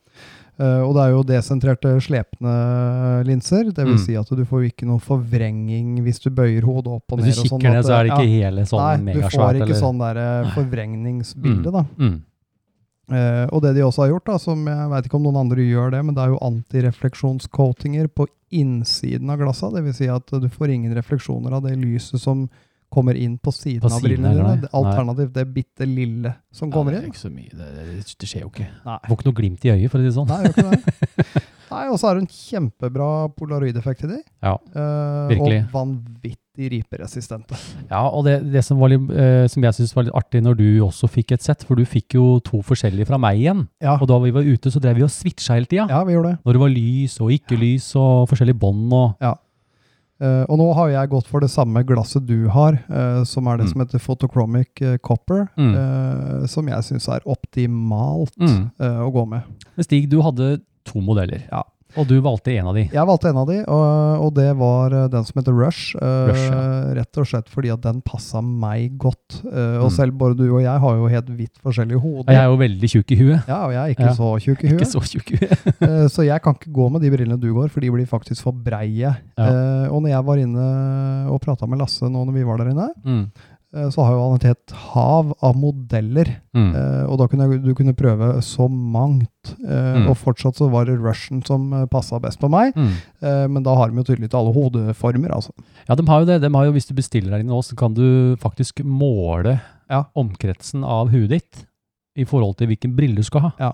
Eh, og det er jo desentrerte slepende linser. Det vil Mm. si at du får jo ikke noe forvrengning hvis du bøyer hodet opp og ned. Hvis du og sånn kikker ned, at, så er det eh, ikke hele sånn Nei, du får megasvært. ikke eller- sånn der eh, forvrengningsbilde, da. Mm. Eh, og det de også har gjort, da, som jeg veit ikke om noen andre gjør det, men det er jo antirefleksjonscoatinger på innsiden av glassa. Dvs. Si at du får ingen refleksjoner av det lyset som kommer inn på siden På av siden brillene av glassa, dine. Det- Alternativt det bitte lille som Ja, kommer det er inn. ikke så mye. Det, det, det skjer jo ikke. Nei. Får ikke noe glimt i øyet, for å si det sånn. Nei, gjør ikke det. <laughs> Nei, og så er det en kjempebra polaroideffekt i de. Ja, Eh, virkelig. og vanvittig riperesistente. Ja, og det, det som, var litt, eh, som jeg synes var litt artig når du også fikk et sett, for du fikk jo to forskjellige fra meg igjen, Ja. og da vi var ute så drev vi og switcha hele tida. <laughs> ja, vi gjorde det. Når det var lys og ikke lys og forskjellige bånd og Eh, og nå har jeg gått for det samme glasset du har, eh, som er det Mm. som heter photochromic eh, copper, Mm. eh, som jeg syns er optimalt Mm. eh, å gå med. Men Stig, du hadde to modeller, Ja. og du valgte en av de. Jeg valgte en av de, og, og det var eh, den som heter Rush. eh, Rush, ja. Rett og slett fordi at den passa meg godt. Eh, og Mm. selv både du og jeg har jo helt vidt forskjellige hoder. Jeg er jo veldig tjukk i huet. Ja, og jeg er ikke Ja. så tjukk i Ikke huet, så tjukk i huet. eh, så jeg kan ikke gå med de brillene du går, for de blir faktisk for breie. Eh, og når jeg var inne og prata med Lasse nå når vi var der inne, Mm. eh, så har jo han et helt hav av modeller. Mm. Eh, og da kunne jeg, du kunne prøve så mangt. Eh, Mm. Og fortsatt så var det Russian som uh, passa best på meg. Mm. Eh, men da har de jo tydelig til alle hodeformer, altså. Ja, de har jo det. De har jo, hvis du bestiller deg inn nå, så kan du faktisk måle Ja. omkretsen av huet ditt i forhold til hvilken brille du skal ha. Ja.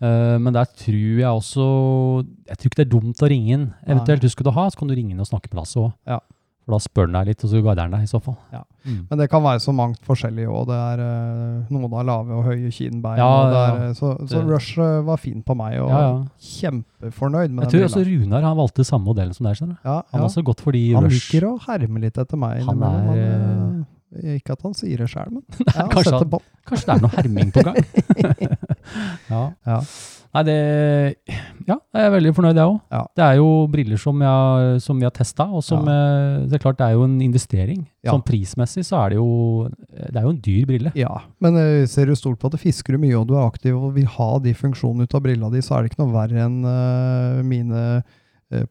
Eh, men der tror jeg også Jeg tror ikke det er dumt å ringe inn. Eventuelt husker du å ha, så kan du ringe inn og snakke med Lasse òg. Ja. For da spør han deg litt, og så guider han deg i så fall. Ja. Mm. Men det kan være så mangt forskjellig òg. Det er eh, noen har lave og høye kinnbein. Ja, og det ja, er, eh, så så Det- Rush eh, var fin på meg, og Ja, ja. kjempefornøyd med Jeg tror den også brilla. Runar han valgte samme modellen som deg. skjønner du? Ja, Han ja. har også gått for de Han rush. liker å herme litt etter meg Han innimellom. er, Han, eh, Ikke at han sier det sjøl, <laughs> men jeg har kanskje sett han- det på Kanskje det er noe herming på gang? ja. <laughs> Ja. Nei, det Ja, jeg er veldig fornøyd, jeg òg. Ja. Det er jo briller som, jeg, har- som vi har testa, og som eh, Det er klart, det er jo en investering. Ja. Sånn prismessig så er det jo Det er jo en dyr brille. Ja, men eh, ser du stort på at det fisker du mye, og du er aktiv og vil ha de funksjonene ut av brilla di, så er det ikke noe verre enn eh, mine eh,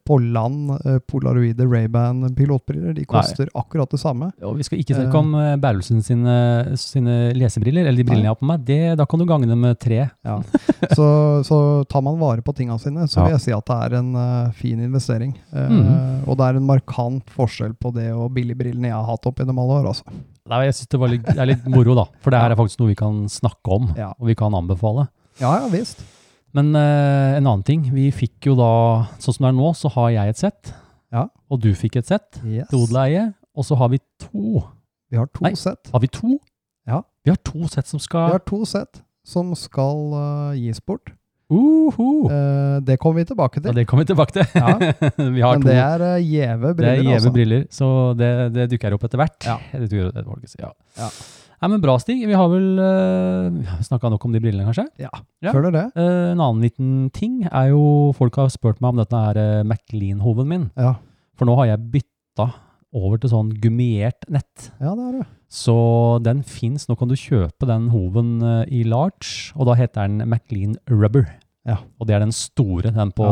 Pollan eh, polaroide Ray-Ban pilotbriller. De koster akkurat det samme. <laughs> Og vi skal ikke snakke om eh, Berlesen sine, sine lesebriller, eller de brillene jeg har på meg. Det, da kan du gange dem med tre. Ja. så, så tar man vare på tinga sine, Ja. så vil jeg si at det er en eh, fin investering. Eh, Mhm. Og det er en markant forskjell på det og billigbrillene jeg har hatt opp gjennom alle år. Altså. Nei, jeg syns det, var litt- det er litt moro, da. For det her er faktisk noe vi kan snakke om, Ja. og vi kan anbefale. ja, ja visst. Men eh, en annen ting. Vi fikk jo da Sånn som det er nå, så har jeg et sett. Ja. Og du fikk et sett Yes. til odeleie. Og så har vi to. Vi har to Nei. sett. Har vi to? Ja. Vi har to sett som Vi skal har to sett som skal eh, gis bort. Uhu! Eh, det kommer vi tilbake Ja, til. Oh. det kommer vi tilbake til. <laughs> Ja. vi har Men to. det er eh, Det gjeve er briller, gjeve altså. briller, så det, det dukker opp etter hvert. Ja. Det dukker opp etter hvert, ja. Ja. Nei, men bra, Stig. Vi har vel uh, snakka nok om de brillene, kanskje. Ja. Føler det? Eh, en annen liten ting er jo Folk har spurt meg om dette er uh, McLean-hoven min. Ja. For nå har jeg bytta over til sånn gummiert nett. ja, det er det. Så den fins. Nå kan du kjøpe den hoven eh, i large, og da heter den McLean Rubber. Ja. Og det er den store, den på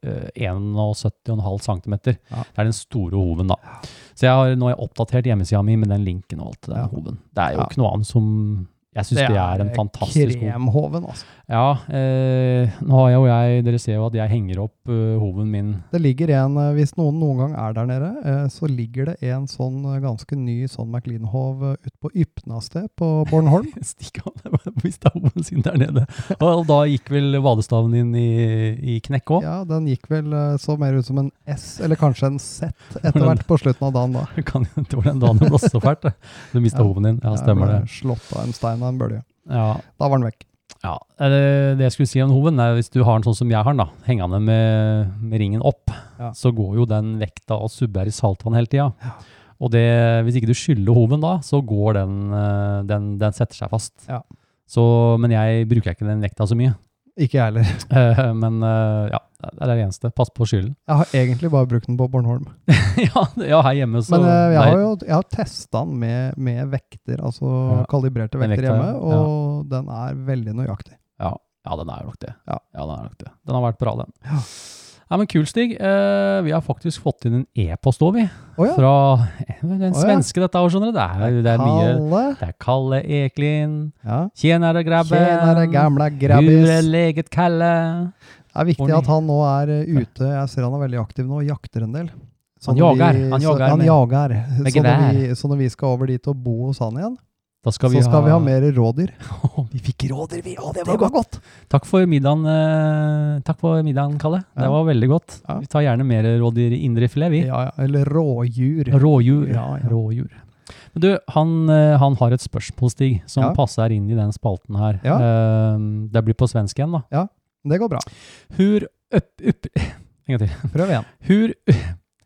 eh, 71,5 cm. Ja. Det er den store hoven, da. Så jeg har, nå har jeg oppdatert hjemmesida mi med den linken og alt til den Ja. hoven. Det er jo Ja. ikke noe annet som Jeg syns det, er en fantastisk hov. Kremhoven, altså. Ja, eh, nå har jeg og jeg Dere ser jo at jeg henger opp eh, hoven min. <laughs> Det ligger en, eh, Hvis noen noen gang er der nede, eh, så ligger det en sånn eh, ganske ny sånn McLean-hov eh, ute på Ypnasted på <laughs> Bornholm. Stikk av det var mista hoven sin der nede. Og da gikk vel vadestaven din i, i knekk òg. ja, Den gikk vel eh, så mer ut som en S, eller kanskje en Z etter Hvordan- hvert på slutten av dagen da. Det kan jo ikke hvordan dagen det blåste så fælt. det. Du mista Ja. hoven din. Ja, stemmer Jeg det. ble Eh, Slått av en stein av en bølge. Ja. Da var den vekk. ja. Eh, Det jeg skulle si om hoven, er hvis du har den sånn som jeg har den, da, hengende med, med ringen opp, Ja. så går jo den vekta og subber i saltvann hele tida. Og det, hvis ikke du skyller hoven da, så går den, eh, den, den setter seg fast. Ja. Så, men jeg bruker ikke den vekta så mye. Ikke jeg heller. Eh, Men eh, ja, det er det eneste. Pass på skylden. <laughs> Jeg har egentlig bare brukt den på Bornholm. ja, det- ja, her hjemme så Men eh, jeg Nei, har jo jeg har testa den med, med vekter, altså Ja. kalibrerte Med vekta, vekter hjemme, ja. og den er veldig nøyaktig. ja, ja, den er jo nok det. Ja. den er nok det. Den har vært bra, den. Ja. men kul, Stig. Eh, vi har faktisk fått inn en e-post òg, vi. Å ja. Fra eh, den Å ja. svenske, dette her, skjønner du. Det er, det er mye Kalle. Det er Kalle Eklin. Ja. Tjenere, grabben. Tjenere, Hur gamle er grabbis. läget, Kalle? Det er viktig Ordning. at han nå er eh, ute. Jeg ser han er veldig aktiv nå og jakter en del. Han når jager, Vi, han så, jager han med- jager. med så, når gevær. vi, så når vi skal over dit og bo hos han igjen, Da skal vi så ha, skal vi ha mer <laughs> rådyr. vi fikk råder, vi. Å, det Det var godt. var godt! Takk for middagen, eh, takk for middagen Kalle. Det Ja. var veldig godt. Ja. Vi tar gjerne mer rådyr i indre filet, vi. Ja, ja. Eller rådjur. Rådjur. Ja, ja. Rådjur. Men du, han, eh, han har et spørsmål, Stig, som Ja. passer inn i den spalten her. Eh, det blir på svensk igjen, da. Det går bra. Hur upp, upp, en gang til. Prøv igjen. Hur,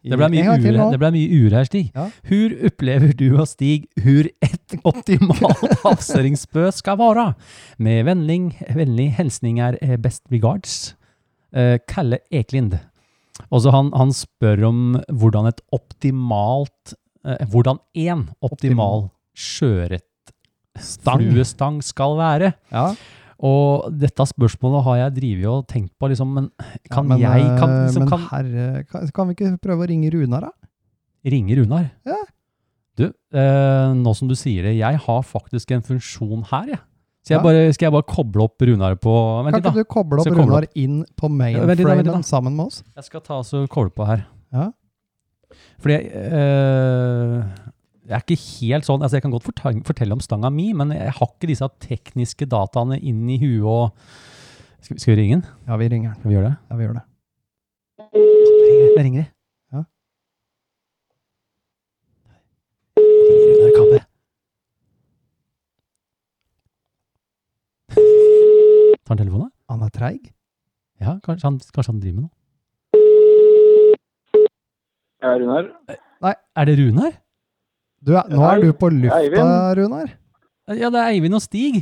det ble En mye gang til ure, nå. det ble mye ure her, Stig. Ja. Hur upplever du og Stig hur et <laughs> optimalt avseringsspø skal være? Med vennlig, vennlig helsninger eh, best regards. Eh, Kalle Eklind. Og så han, han spør om hvordan et optimalt eh, Hvordan en optimal sjøørretfluestang skal være. Ja. Og dette spørsmålet har jeg drivet og tenkt på, liksom, men kan men, jeg kan, eh, liksom, men kan herre, kan, kan vi ikke prøve å ringe Runar, da? Ringe Runar. Ja. Du, eh, nå som du sier det, jeg har faktisk en funksjon her, jeg. Så jeg Ja. bare, skal jeg bare koble opp Runar på Vent Kan litt, ikke da. du koble opp Så koble Runar inn på Ja, vent litt da, vent litt da. mainframen sammen med oss? Jeg skal ta og koble på her. Ja. Fordi jeg eh, Jeg er ikke helt sånn altså Jeg kan godt fortelle, fortelle om stanga mi, men jeg har ikke disse tekniske dataene inn i huet og Skal vi, skal vi ringe den? Ja, vi ringer han. Skal vi gjøre det? Ja, vi gjør det. Det ringer de. Ja. Ringer under kappet. Tar han telefonen? da? Han er treig. Ja, kanskje han, kanskje han driver med noe. Ja, Runar. Er det Runar? Du er, nå er du på lufta, Eivind. Runar. Ja, det er Eivind og Stig.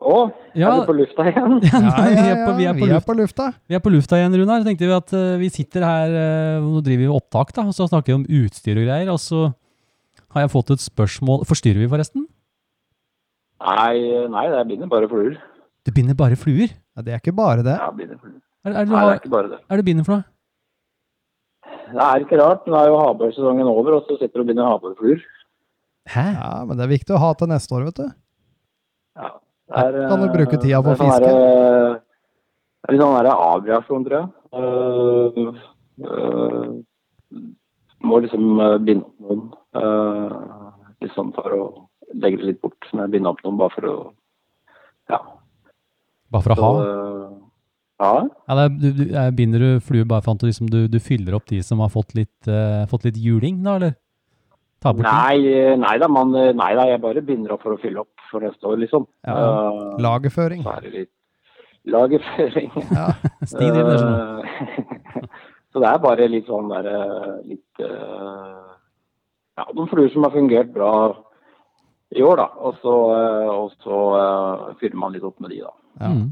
Å, Ja. er du på lufta igjen? <laughs> Ja, vi, er på, vi, er på vi er luft, på lufta. vi er på lufta igjen, Runar. Tenkte vi at eh, vi sitter her eh, Nå driver vi opptak, da, og så snakker vi om utstyr og greier. Og så har jeg fått et spørsmål Forstyrrer vi, forresten? Nei, nei, det binder bare fluer. Du binder bare fluer? Ja, det er ikke bare det. Ja, binder fluer. Er, er, Nei, det er er, ikke bare det. er du binder for noe? Det er ikke rart. Nå er jo havbørsesongen over, og så sitter du og binder havbørfluer. Hæ? Ja, Men det er viktig å ha til neste år, vet du. Ja. Det er, Kan du eh, bruke tida på det er å sånn fiske? derre- Det er litt sånn derre avreaksjon, tror jeg. Eh, eh, må liksom eh, binde opp noen. eh, litt sånn for å legge det litt bort. Men binde opp noen bare for å Ja. Bare for å ha? Så, eh, ja. Ja, det er, du, du, eh, binder du fluer bare for at du, liksom, du, du fyller opp de som har fått litt, eh, fått litt juling, da, eller? Ta bort de. Nei, eh, nei da, man, eh, nei da, jeg bare begynner opp for å fylle opp for neste år, liksom. Ja. Eh, Lagerføring. så er det litt lagerføring. <laughs> Stig driver det sånn. Eh, <laughs> så det er bare litt sånn der eh, litt eh, Ja, noen fluer som har fungert bra i år, da. Og så, eh, og så eh, fyller man litt opp med de, da. Ja. Mm.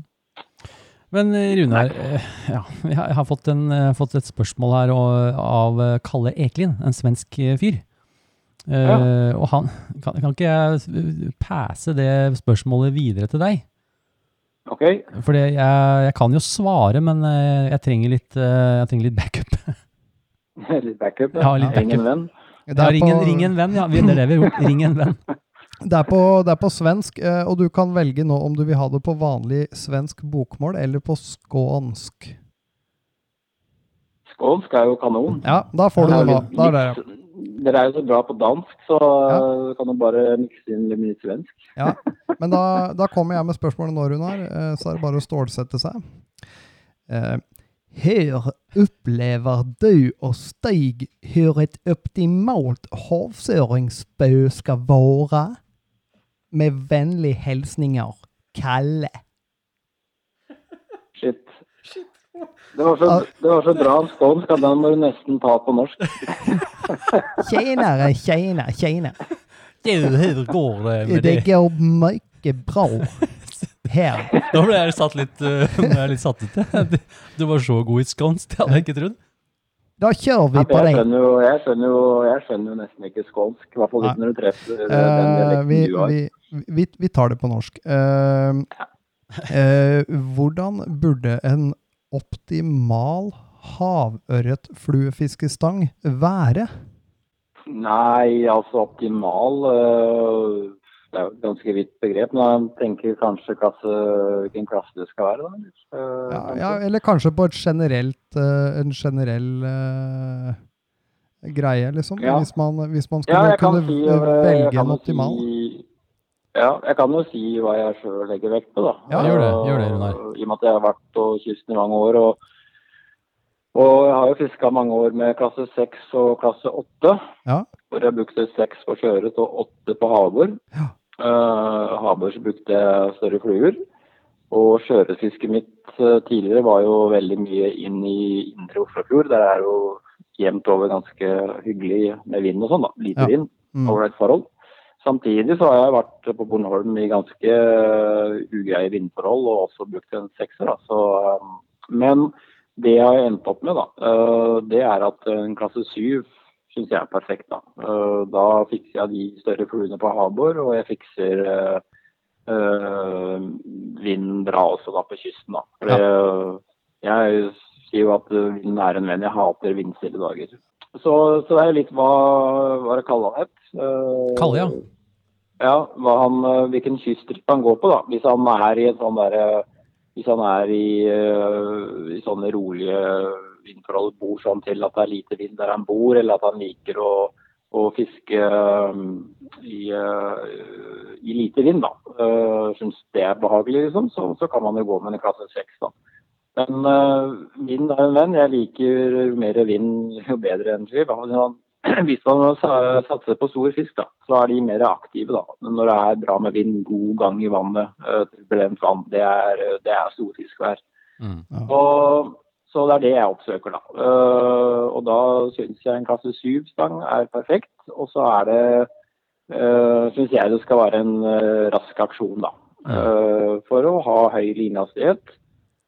Men eh, Runar, eh, <laughs> ja, jeg har- jeg har fått, en, eh, fått et spørsmål her og, av eh, Kalle Ekelin, en svensk eh, fyr. Eh, Og han, kan, kan ikke jeg eh, passe det spørsmålet videre til deg? OK? <laughs> For jeg, jeg kan jo svare, men eh, jeg trenger litt, eh, jeg trenger litt backup. litt backup. Ja, litt Ring en backup. venn. Det Ja, <laughs> er ring, på, en, ring en venn, ja. vi- Det er det vi har gjort. Ring en <laughs> venn. det er på, det er på svensk, eh, og du kan velge nå om du vil ha det på vanlig svensk bokmål eller på skånsk. Skånsk er jo kanon. Ja, da får du det nå. Da er det. Dere er jo så bra på dansk, så eh, kan du bare mikse inn litt mye svensk. Ja, men da, da kommer jeg med spørsmålet nå, Runar. eh, Så er det bare å stålsette seg. Eh, Her opplever du og Stig hvor et optimalt havsøringsspø skal være? Med vennlige hilsninger Kalle. Shit. Det var, så, det var så bra skånsk at den må du nesten ta på norsk. Tjenere, tjenere, tjenere. Du, Hvor går det med Det det? går mye bra her. <laughs> Nå ble jeg satt litt, eh, <laughs> nå er jeg litt satt ut. <laughs> Du- Du var så god i skånsk, det hadde jeg ikke trodd. Da kjører vi Jeg på den. skjønner, jo, jeg, skjønner jo, jeg skjønner jo nesten ikke skånsk, i hvert fall ikke når du treffer eh, den Eh, dialekten vi, du har. vi, vi, vi tar det på norsk. Eh, eh, hvordan burde en optimal havørretfluefiskestang være? Nei, altså optimal eh, Det er jo et ganske vidt begrep, men jeg tenker kanskje klasse, hvilken klasse det skal være, da. Eh, Ja, kanskje. ja, eller kanskje på et generelt, eh, en generell eh, greie, liksom? Ja. Hvis, man, hvis man Ja, skulle jeg kan kunne si, eh, eh, jeg velge kan en jo optimal? Si, ja, jeg kan jo si hva jeg sjøl legger vekt på, da. Ja, gjør det, gjør det, Runar. Og I og med at jeg har vært på kysten i mange år. og og jeg har jo fiska mange år med klasse 6 og klasse 8. Ja. Hvor jeg brukte 6 på sjøørret og 8 på havbor. Ja. Eh, havbor så brukte jeg større fluer. Og sjøørretfisket mitt eh, tidligere var jo veldig mye inn i indre Oslofjord. Der er jo jevnt over ganske hyggelig med vind og sånn, da. Lite Ja. vind. Mm. Ålreit forhold. Samtidig så har jeg vært på Bornholm i ganske eh, ugreie vindforhold, og også brukt en sekser. Da. Så, eh, men det jeg har endt opp med, da, eh, det er at en klasse syv syns jeg er perfekt. Da. Eh, da fikser jeg de større fluene på havbor, og jeg fikser eh, eh, vind bra også da på kysten. Da. For det, Jeg sier jo at eh, vinden er en venn. Jeg hater vindstille dager. Så, så det er litt hva, hva det kaller han het. Eh, Kalle, ja. ja, hva han, eh, hvilken kystripp han går på, da. Hvis han er i en sånn der, eh, hvis han er i, eh, i sånne rolige vindforhold, bor sånn til at det er lite vind der han bor, eller at han liker å, å fiske eh, i, eh, i lite vind, da. Uh, Syns det er behagelig, liksom, så, så kan man jo gå med en klasse seks, da. Men eh, vind er en venn. Jeg liker jo mer vind, jo bedre enn skiv. Hvis man <clears throat> sa- satser på stor fisk, da, så er de mer aktive. da. Men når det er bra med vind, god gang uh, i vannet, eh, turbulent vann, det er, det er storfiskvær. Mm. Ja. Og Så det er det jeg oppsøker, da. Eh, og da syns jeg en klasse 7-stang er perfekt. Og så er det uh, syns jeg det skal være en eh, rask aksjon, da. Eh, for å ha høy linehastighet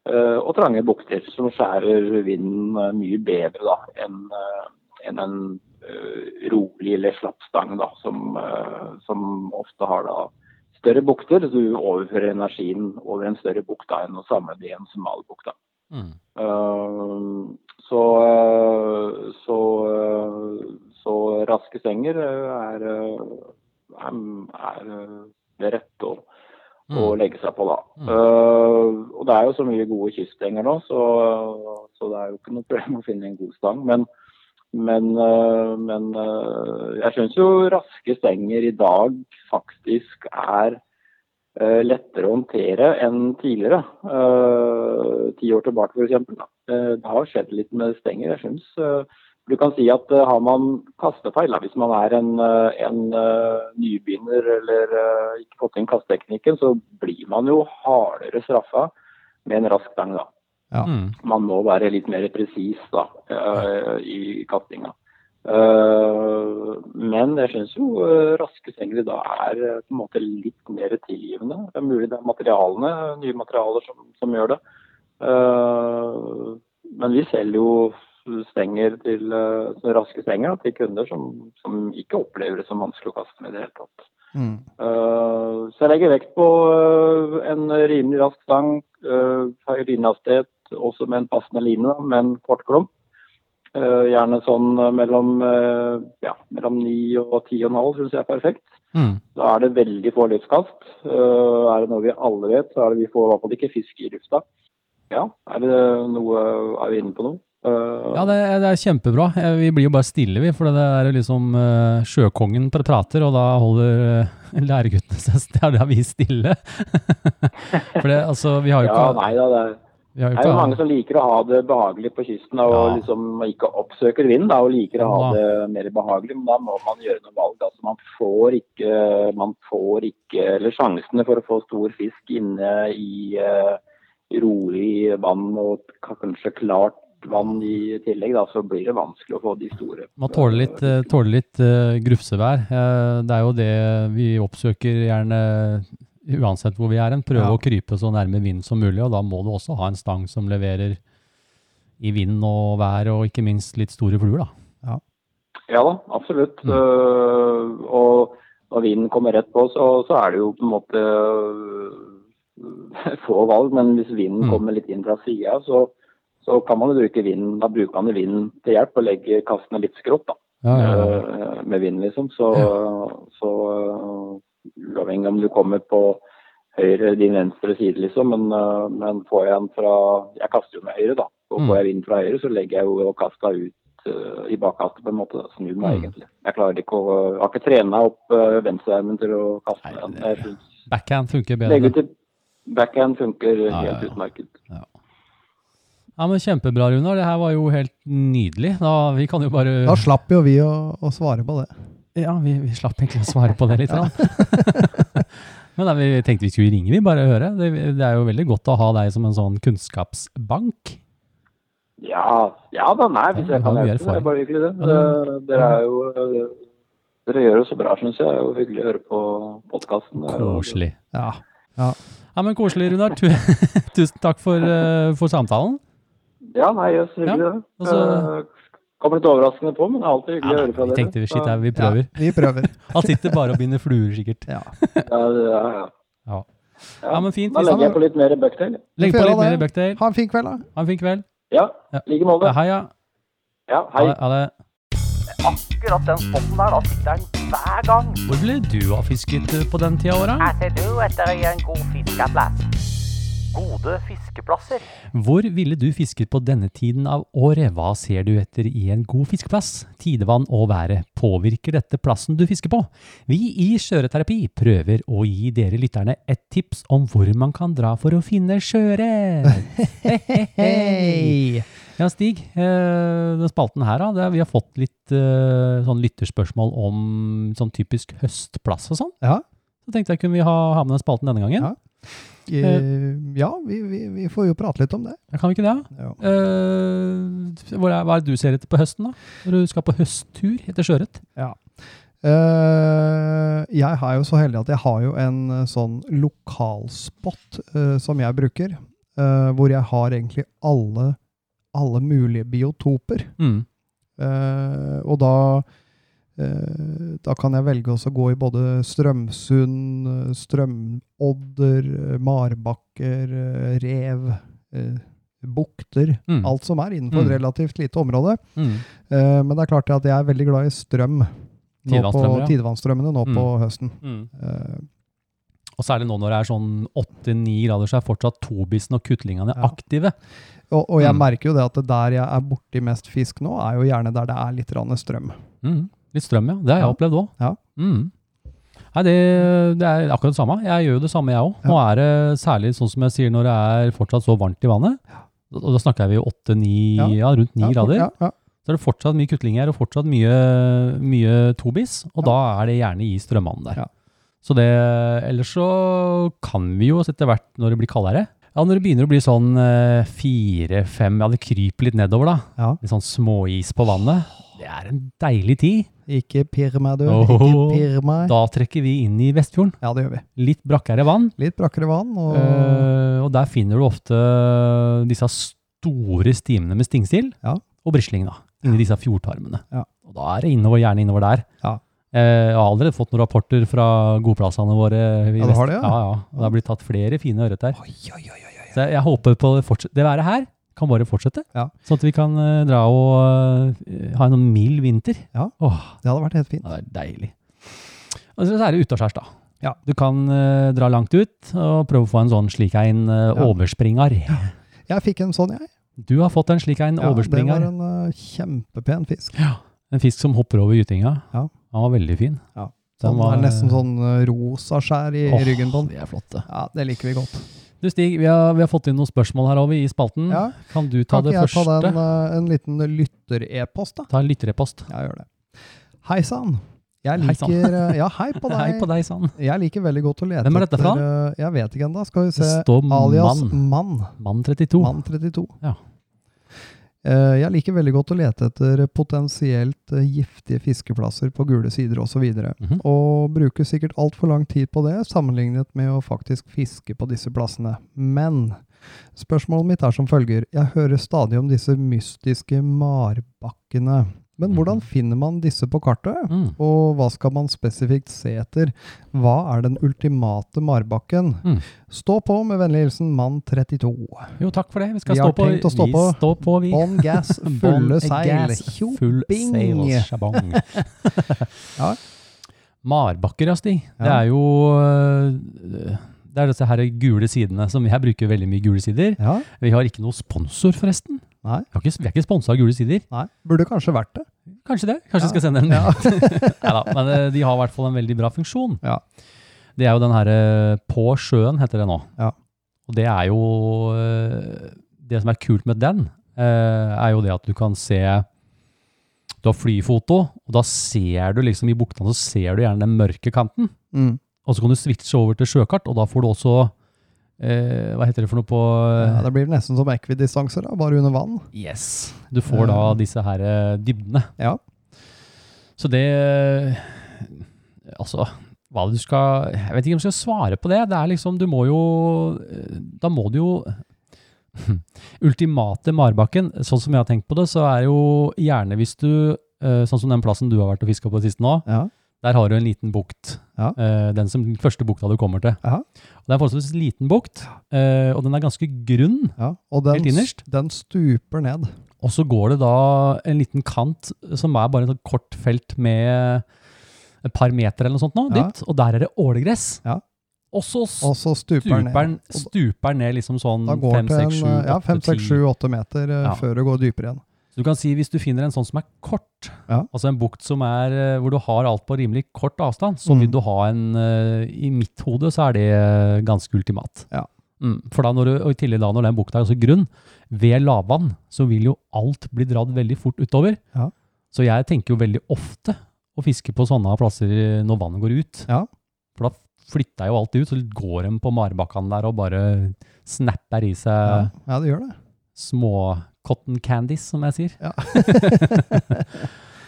eh, og trange bukter, som skjærer vinden eh, mye bedre da, enn eh, enn en eh, rolig eller slapp stang, da, som, eh, som ofte har da større bukter. Så du overfører energien over en større bukt da, enn å samle det i en smal bukt. da. Mm. Ehm, så, eh, så, eh, så raske stenger eh, er, eh, er, er eh, det rette å, å legge seg på, da. Ehm, og det er jo så mye gode kyststenger nå, så, så det er jo ikke noe problem å finne en god stang. Men, men, eh, men eh, jeg syns jo raske stenger i dag faktisk er eh, lettere å håndtere enn tidligere. Eh, Ti år tilbake f.eks. Eh, Det har skjedd litt med stenger. jeg synes. Eh, Du kan si at eh, har man kastefeil, da, hvis man er en, eh, en eh, nybegynner eller eh, ikke fått inn kasteteknikken, så blir man jo hardere straffa med en rask stang. da. Ja. Mm. Man må være litt mer presis da, eh, i kastinga. Eh, men jeg syns jo eh, raske stenger i dag er eh, på en måte litt mer tilgivende. Det er mulig det er materialene, nye materialer som, som gjør det. Eh, men vi selger jo stenger til, eh, sånne raske stenger da, til kunder som, som ikke opplever det som vanskelig å kaste med i det hele tatt. Mm. Eh, så jeg legger vekt på eh, en rimelig rask stang, eh, høy linehastighet, også med en passende line, da, med en kort klump. Eh, gjerne sånn eh, mellom, eh, ja, mellom 9 og 10,5 syns jeg er perfekt. Mm. Da er det veldig få livskast. Eh, er det noe vi alle vet, så er det vi får i hvert fall ikke fisk i lufta. Ja, er det noe Er vi inne på noe? Eh, Ja, det, det er kjempebra. Eh, Vi blir jo bare stille, vi, for det er jo liksom eh, sjøkongen pr- prater, og da holder eh, <laughs> læreguttene seg stille. Da er vi stille. <laughs> for det, altså, vi har jo ja, ikke nei da, det er vi har jo Det er jo mange ikke- som liker å ha det behagelig på kysten da, og Ja. liksom ikke oppsøker vind da, og liker å ha Ja. det mer behagelig, men da må man gjøre noen valg. Altså, man, får ikke, man får ikke eller sjansene for å få stor fisk inne i eh, rolig vann og ka- kanskje klart vann i tillegg, da, så blir det vanskelig å få de store. Må tåle litt, eh, tåle litt eh, grufsevær. Eh, det er jo det vi oppsøker gjerne eh, uansett hvor vi er hen. Prøve Ja. å krype så nærme vind som mulig, og da må du også ha en stang som leverer i vind og vær, og ikke minst litt store fluer, da. Ja da, absolutt. Eh, og når vinden kommer rett på, så, så er det jo på en måte eh, <laughs> få valg. Men hvis vinden Mm. kommer litt inn fra sida, så, så kan man jo bruke vinden. Da bruker man jo vinden til hjelp og legger kastene litt skrått da, Ja, ja, ja. eh, med vind, liksom. Så, så eh, uavhengig om du kommer på høyre, din venstre side, liksom. Men, eh, men får jeg en fra Jeg kaster jo med høyre, da. Og Mm. får jeg vind fra høyre, så legger jeg jo kasta ut eh, i bakkastet, på en måte. da. Snur meg Mm. egentlig. Jeg klarer ikke å Jeg har ikke trent meg opp uh, venstrearmen til å kaste Nei, den. det- Jeg synes Backhand funker bedre. Legge ut i backhand funker ja, helt ja. utmerket. Ja, men Kjempebra, Runar. Det her var jo helt nydelig. Da, vi kan jo bare Da slapp jo vi å, å svare på det. Ja, vi, vi slapp egentlig å svare på det litt. <laughs> grann. men da, vi tenkte vi skulle ringe, vi, bare høre. Det, det er jo veldig godt å ha deg som en sånn kunnskapsbank. Ja, ja da, nei, hvis Ja, jeg vi kan har jo hjelpe, det er erfaring. bare hyggelig det. Ja, det- Eh, Dere er jo eh, Dere gjør det så bra, syns jeg. Det er jo hyggelig å høre på podkasten. Koselig. Ja. Ja, men koselig, Runar. Tu, <laughs> tusen takk for, eh, for samtalen. Ja, nei, jøss, hyggelig Ja, det. og så- Eh, Kommer litt overraskende på, men det er alltid hyggelig å Ja, høre fra vi dere. tenkte vi, shit, nei, vi prøver. Ja, vi prøver. Han sitter bare og binder fluer, sikkert. Ja. Ja, ja, ja. Ja. Ja, men fint. Da Vi legger jeg sammen. på litt mer bucktail. Legg på Får litt jeg mer det? bucktail. Ha en fin kveld, da. Ha en fin kveld. Ja, Ja. i like måte. Hei, ja. Ja, Ha hei. det. Ha det. Akkurat den spotten der, da sitter den hver gang. Hvor ble du av fisket eh, på den tida av året? Her ser du etter en god fiskeplass. Gode fiskeplasser. Hvor ville du fisket på denne tiden av året? Hva ser du etter i en god fiskeplass? Tidevann og været, påvirker dette plassen du fisker på? Vi i Skjøreterapi prøver å gi dere lytterne et tips om hvor man kan dra for å finne sjøørret. <laughs> Hei! Ja, Stig, eh, den spalten her, da, det er- vi har fått litt eh, sånn lytterspørsmål om sånn typisk høstplass og sånn. Ja. Så tenkte jeg kunne vi ha, ha med den spalten denne gangen. Ja. Eh, ja, vi, vi, vi får jo prate litt om det. Kan vi ikke det? da? Ja. Eh, hvor er, hva er det du ser etter på høsten, da? Når du skal på høsttur etter sjøørret? Eh, jeg er jo så heldig at jeg har jo en eh, sånn lokalspot eh, som jeg bruker, eh, hvor jeg har egentlig alle, alle mulige biotoper. Mm. Eh, og da, eh, da kan jeg velge også å gå i både Strømsund, eh, Strømodder, eh, Marbakker, eh, Rev, eh, bukter. Mm. Alt som er innenfor Mm. et relativt lite område. Mm. Eh, men det er klart at jeg er veldig glad i strøm. Nå på, Tidevannsstrømmer, ja. tidevannsstrømmene nå Mm. på høsten. Mm. Eh, Og særlig nå når det er sånn 8-9 grader, så er fortsatt tobisen og kutlingene Ja. aktive. og, og jeg Mm. merker jo det at det der jeg er borti mest fisk nå, er jo gjerne der det er litt rann strøm. Mm. Litt strøm, ja. Det har jeg Ja. opplevd òg. Ja. Mm. Nei, det, det er akkurat det samme. Jeg gjør jo det samme, jeg òg. Nå er det særlig sånn som jeg sier, når det er fortsatt så varmt i vannet. Og da snakker vi jo 8-9, ja. Ja. rundt 9 Ja, grader. Ja, ja. Så er det fortsatt mye kutlinger og fortsatt mye, mye tobis, og da er det gjerne i strømmene der. Ja. Så det, ellers så kan vi jo etter hvert, når det blir kaldere, ja, når det begynner å bli sånn eh, fire, fem, ja, det kryper litt nedover da. Ja. Litt sånn småis på vannet. Det er en deilig tid. Ikke pirr meg, du. Ikke Åhå. pirr meg. Da trekker vi inn i Vestfjorden. Ja, det gjør vi. Litt brakkere vann, Litt brakkere vann. Og, eh, og der finner du ofte disse store stimene med stingsild Ja. og brisling da, inni disse fjordtarmene. Ja. Og da er det innover, gjerne innover der. Ja. Eh, jeg har allerede fått noen rapporter fra godplassene våre. i Ja, du vest. har det, ja. eh, Ja, ja. Og det har blitt tatt flere fine ørret der. Så jeg, jeg håper på det fortsatt. Det været her kan bare fortsette, Ja. sånn at vi kan eh, dra og eh, ha en mild vinter. Ja. Åh, det hadde vært helt fint. ja, det er deilig. Og så er det utaskjærs, da. Ja. Du kan eh, dra langt ut og prøve å få en sånn slik en eh, Ja. overspringer. Jeg fikk en sånn, jeg. Du har fått en slik en Ja, det var overspringer. En... en eh, kjempepen fisk. fisk som hopper over gytinga. Ja. Han var veldig fin. Ja. Den Den var- er nesten sånn eh, rosa skjær i Åh, ryggen på den. Det er flott, det. Ja, det liker vi godt. Du Stig, vi har, vi har fått inn noen spørsmål her over i spalten. Ja. Kan du Mm. ta Kan ikke det jeg ta første? den, eh, en liten lytter-e-post, da? Ta en lytterepost. Jeg gjør det. Hei sann. Jeg Hei sann. liker eh, Ja, hei på <laughs> deg. Hei på deg, sann. Jeg liker veldig godt å lete Hvem er dette fra? etter, eh, Jeg vet ikke ennå. Skal vi Det se. står Alias mann. Mann. Mann 32. Mann 32. Oh. Ja. Eh, Jeg liker veldig godt å lete etter potensielt eh, giftige fiskeplasser på gule sider osv. videre Mhm. Og bruker sikkert altfor lang tid på det sammenlignet med å faktisk fiske på disse plassene. Men spørsmålet mitt er som følger. Jeg hører stadig om disse mystiske marbakkene. Mhm. Men hvordan finner man disse på kartet? Mm. Og hva skal man spesifikt se etter? Hva er den ultimate marbakken? Mm. Stå på med vennlig hilsen mann 32. Jo, takk for det. Vi skal Vi stå har på. tenkt å stå vi på. står på, vi. <laughs> On gass, fulle Bånd, seil. gass, Tjo, Full bing. <laughs> sails, sjabong. Ja. Marbakker, ja, Stig. Det Ja. er jo øh, det er disse her gule sidene som jeg bruker veldig mye gule sider. Ja, Vi har ikke noe sponsor, forresten. Nei. Vi, har ikke, vi er ikke sponsa av gule sider. nei. Burde kanskje vært det. Kanskje det. Kanskje jeg skal sende en mail. <laughs> <laughs> Neida, men eh, de har i hvert fall en veldig bra funksjon. Ja. Det er jo den herre På sjøen heter det nå. Ja. Og det er jo eh, Det som er kult med den, eh, er jo det at du kan se Du har flyfoto, og da ser du liksom i buktene så ser du gjerne den mørke kanten. Mm. Og så kan du switche over til sjøkart, og da får du også eh, Hva heter det for noe på eh, Ja, det blir nesten som ekvidistanser, da, bare under vann. Yes. Du får da disse her eh, dybdene. Ja. Så det Altså, hva du skal Jeg vet ikke om jeg skal svare på det. Det er liksom Du må jo eh, Da må du jo <laughs> Ultimate Marbakken, sånn som jeg har tenkt på det, så er jo gjerne hvis du eh, Sånn som den plassen du har vært og fiska på sist nå, Ja. der har du en liten bukt. Ja. Eh, Den, som, den første bukta du kommer til. Ja. Og det er en forholdsvis liten bukt, eh, og den er ganske grunn. Ja. Og Helt den, innerst? den stuper ned. Og så går det da en liten kant som er bare et sånt kort felt med et par meter eller noe sånt nå, Ja. dypt, og der er det ålegress. Ja. Og så Og så stuper den stuper den ned. Og stuper ned liksom sånn Da går 5, den 6, til 7, en, eh, ja, 8, 5, 6, 7, 10. 8 meter eh, Ja. før det går dypere igjen. Så du kan si hvis du finner en sånn som er kort, Ja. altså en bukt som er, eh, hvor du har alt på rimelig kort avstand, så Mm. vil du ha en, eh, i mitt hode så er det eh, ganske ultimat. Ja. Mm, for da når du, og i tillegg da når den bukta er også grunn, ved lavvann så vil jo alt bli dratt veldig fort utover. Ja. Så jeg tenker jo veldig ofte å fiske på sånne plasser eh, når vannet går ut. Ja. For da flytta jo alt ut, så går de på marbakkene der og bare snapper i seg Ja, ja det gjør det. små cotton candies, som jeg sier. Ja. <laughs>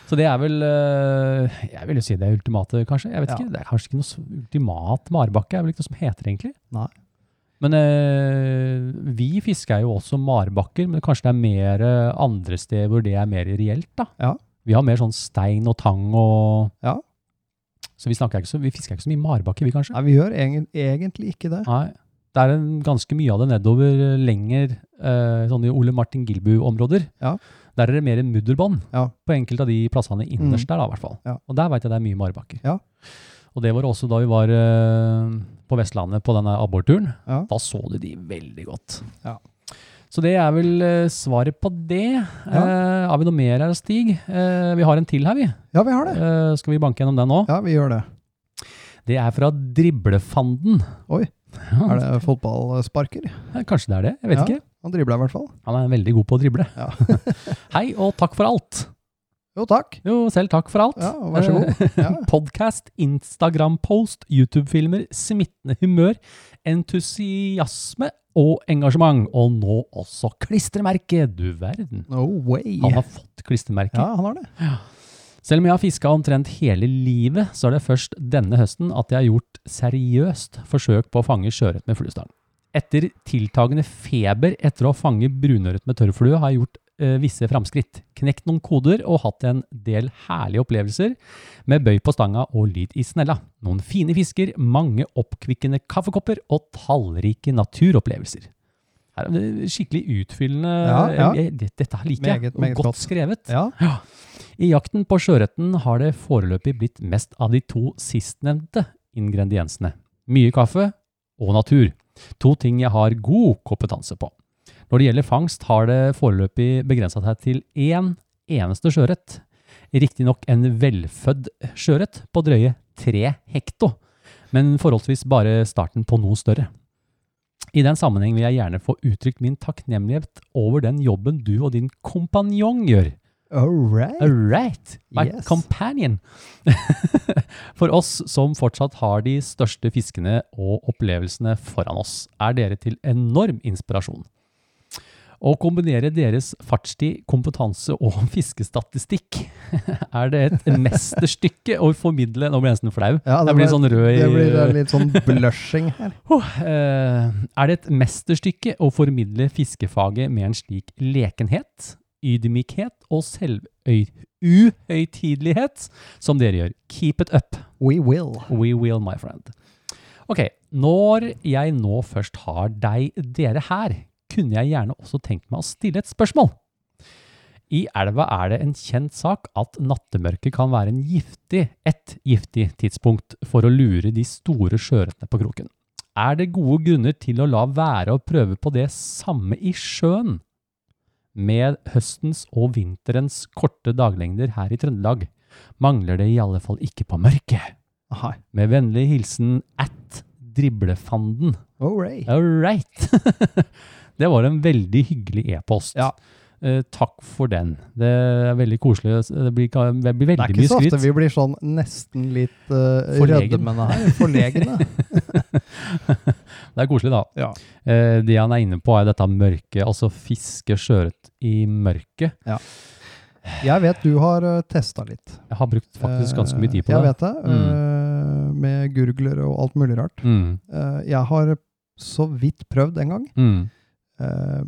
så det er vel eh, Jeg vil jo si det er ultimate, kanskje. Jeg vet Ja. ikke, Det er kanskje ikke noe s- ultimat marbakke? Det er vel ikke noe som heter det, egentlig? Nei. Men eh, vi fisker jo også marbakker, men kanskje det er mer eh, andre steder hvor det er mer reelt, da. Ja. Vi har mer sånn stein og tang og Ja. Så vi, snakker ikke så, vi fisker ikke så mye marbakke, vi, kanskje? Nei, vi gjør egen, egentlig ikke det. Nei. Det er en, ganske mye av det nedover eh, lenger, eh, sånn i Ole Martin Gilbu-områder. Ja. Der er det mer mudderbånd Ja. Mm. på enkelte av de plassene innerst der, da, i hvert fall. Ja. Og der veit jeg det er mye marbakker. Ja. Og det var også da vi var eh, på Vestlandet på denne abborturen. Ja. Da så du de veldig godt. Ja. Så det er vel eh, svaret på det. Eh, har vi noe mer her, Stig? Eh, vi har en til her, vi. Ja, vi har det. Eh, skal vi banke gjennom den nå? Ja, vi gjør det. Det er fra Driblefanden. Oi, Ja, Er det fotballsparker? eh, Kanskje det er det? Jeg vet Ja. ikke. Han dribler i hvert fall. Han er veldig god på å drible. Ja. <laughs> Hei, og takk for alt. Jo, takk. Jo, selv takk for alt. Ja, <laughs> vær så god. Ja. Podkast, Instagram-post, YouTube-filmer, smittende humør, entusiasme og engasjement. Og nå også klistremerke, du verden. No way. Han har fått klistremerke. Ja, han har det. Selv om jeg har fiska omtrent hele livet, så er det først denne høsten at jeg har gjort seriøst forsøk på å fange sjøørret med fluestang. Etter tiltagende feber etter å fange brunørret med tørrflue, har jeg gjort eh, visse framskritt. Knekt noen koder og hatt en del herlige opplevelser med bøy på stanga og lyd i snella. Noen fine fisker, mange oppkvikkende kaffekopper og tallrike naturopplevelser. Her er det skikkelig utfyllende Ja, ja. Jeg- jeg- Dette her liker jeg. Meget, og meget godt godt. skrevet. Ja. I jakten på sjøørreten har det foreløpig blitt mest av de to sistnevnte ingrediensene. Mye kaffe og natur. To ting jeg har god kompetanse på. Når det gjelder fangst, har det foreløpig begrensa seg til én eneste sjøørret. Riktignok en velfødd sjøørret på drøye tre hekto, men forholdsvis bare starten på noe større. I den sammenheng vil jeg gjerne få uttrykt min takknemlighet over den jobben du og din kompanjong gjør. All right. All right, my Yes. companion. <laughs> For oss som fortsatt har de største fiskene og opplevelsene foran oss, er dere til enorm inspirasjon. Å kombinere deres fartstid, kompetanse og <laughs> fiskestatistikk <laughs> er det et mesterstykke å formidle Nå blir jeg nesten flau. Ja, jeg blir sånn rød i det blir eh, litt sånn blushing <laughs> her. Huh, eh, er det et mesterstykke å formidle fiskefaget med en slik lekenhet, ydmykhet og selvøytidelighet som dere gjør? Keep it up. We will. We will, my friend. Ok, når jeg nå først har deg, dere her, kunne jeg gjerne også tenkt meg å stille et spørsmål. I elva er det en kjent sak at nattemørket kan være en giftig, et giftig tidspunkt for å lure de store sjøørretene på kroken. Er det gode grunner til å la være å prøve på det samme i sjøen? Med høstens og vinterens korte daglengder her i Trøndelag mangler det i alle fall ikke på mørket. Aha. Med vennlig hilsen at driblefanden. All right. All right. <laughs> det var en veldig hyggelig e-post. Ja. Eh, takk for den. Det er veldig koselig. Det blir, ka- det blir Det er veldig ikke mye så ofte skryt. vi blir sånn nesten litt uh, Forlegen. rødmende her. Forlegne. Det er koselig, da. Ja. Eh, det han er inne på, er dette mørket. Altså fiske sjøørret i mørket. Jeg vet du har uh, testa litt. Jeg har brukt faktisk ganske mye tid på Eh, Jeg det. vet det. eh, med gurgler og alt mulig rart. Mm, Eh, jeg har så vidt prøvd en gang. mm. Eh,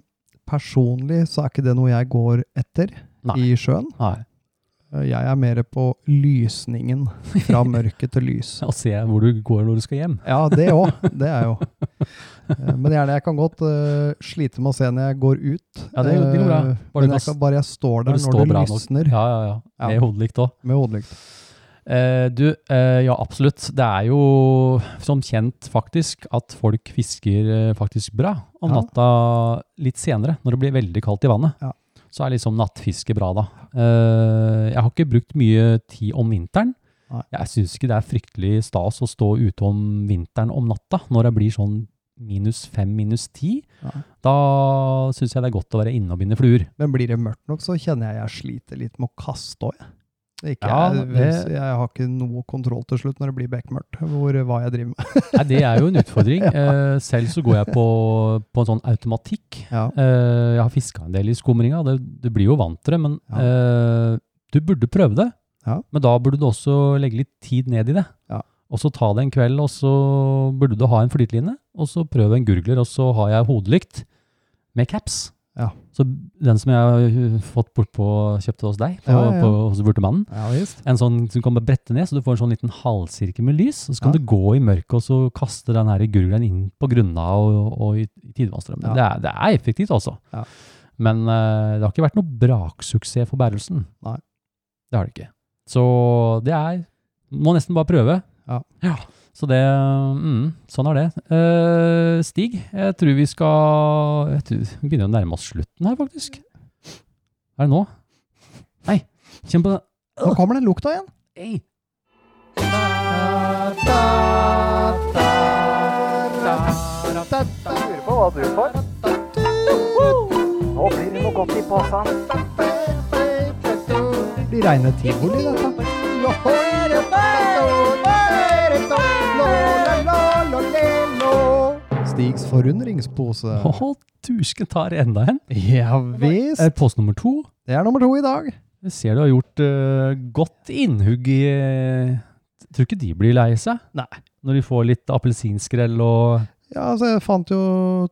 personlig så er ikke det noe jeg går etter Nei. i sjøen. Nei. Eh, jeg er mer på lysningen. Fra <laughs> mørke til lys. Og se hvor du går når du skal hjem. Ja, det òg. Det er jo. Eh, Men gjerne, jeg kan godt eh, slite med å se når jeg går ut. Ja, det går- det går bra. Eh, Bare du men kan jeg s- kan, bare jeg står Når der du når står det bra nok. lysner Ja, ja, ja. Ja. Med hodelykt òg. med hodelykt. Eh, du, eh, ja absolutt. Det er jo som kjent faktisk at folk fisker eh, faktisk bra om Ja. natta litt senere, når det blir veldig kaldt i vannet. Ja. Så er liksom nattfiske bra da. Eh, jeg har ikke brukt mye tid om vinteren. Nei. Jeg syns ikke det er fryktelig stas å stå ute om vinteren om natta, når det blir sånn minus fem, minus ti. Nei. Da syns jeg det er godt å være inne og binde fluer. Men blir det mørkt nok, så kjenner jeg jeg sliter litt med å kaste òg. Det er Ikke, Ja, jeg, det- jeg har ikke noe kontroll til slutt når det blir bekmørkt, hvor, hva jeg driver med. Nei, det er jo en <laughs> utfordring. Eh, Selv så går jeg på, på en sånn automatikk. Ja. Eh, Jeg har fiska en del i skumringa, det- du blir jo vant til det, men Ja. eh, du burde prøve det. Ja. Men da burde du også legge litt tid ned i det. Ja. Og så ta det en kveld, og så burde du ha en flyteline, og så prøve en gurgler, og så har jeg hodelykt med caps. Ja. Så den som jeg har fått bortpå, kjøpte hos deg, på, Ja, ja. På, hos Burtemannen, Ja, visst. en sånn som kan bare brette ned, så du får en sånn liten halvsirkel med lys. og Så kan Ja. du gå i mørket og så kaste den her gurgelen inn på grunna og, og i i tidevannsstrømmen. Ja. Det, er, det er effektivt, altså. Ja. Men eh, det har ikke vært noe braksuksess for bærelsen. Nei. Det har det ikke. Så det er Må nesten bare prøve. Ja. Så det mm, Sånn er det. Eh, Stig, jeg tror vi skal jeg tror Vi begynner å nærme oss slutten her, faktisk. Er det nå? Nei, kjenn på den. Nå kommer den lukta igjen. Hey. Lurer på hva du får. Nå blir det noe godt i posen. Det blir reine tivoli, dette. Stigs forundringspose. <laughs> Å, tusken tar enda en. Ja Er visst. post nummer to. Det er nummer to i dag. Jeg ser du har gjort eh, godt innhugg i eh, Tror ikke de blir lei seg Nei. når de får litt appelsinskrell og Ja, altså jeg fant jo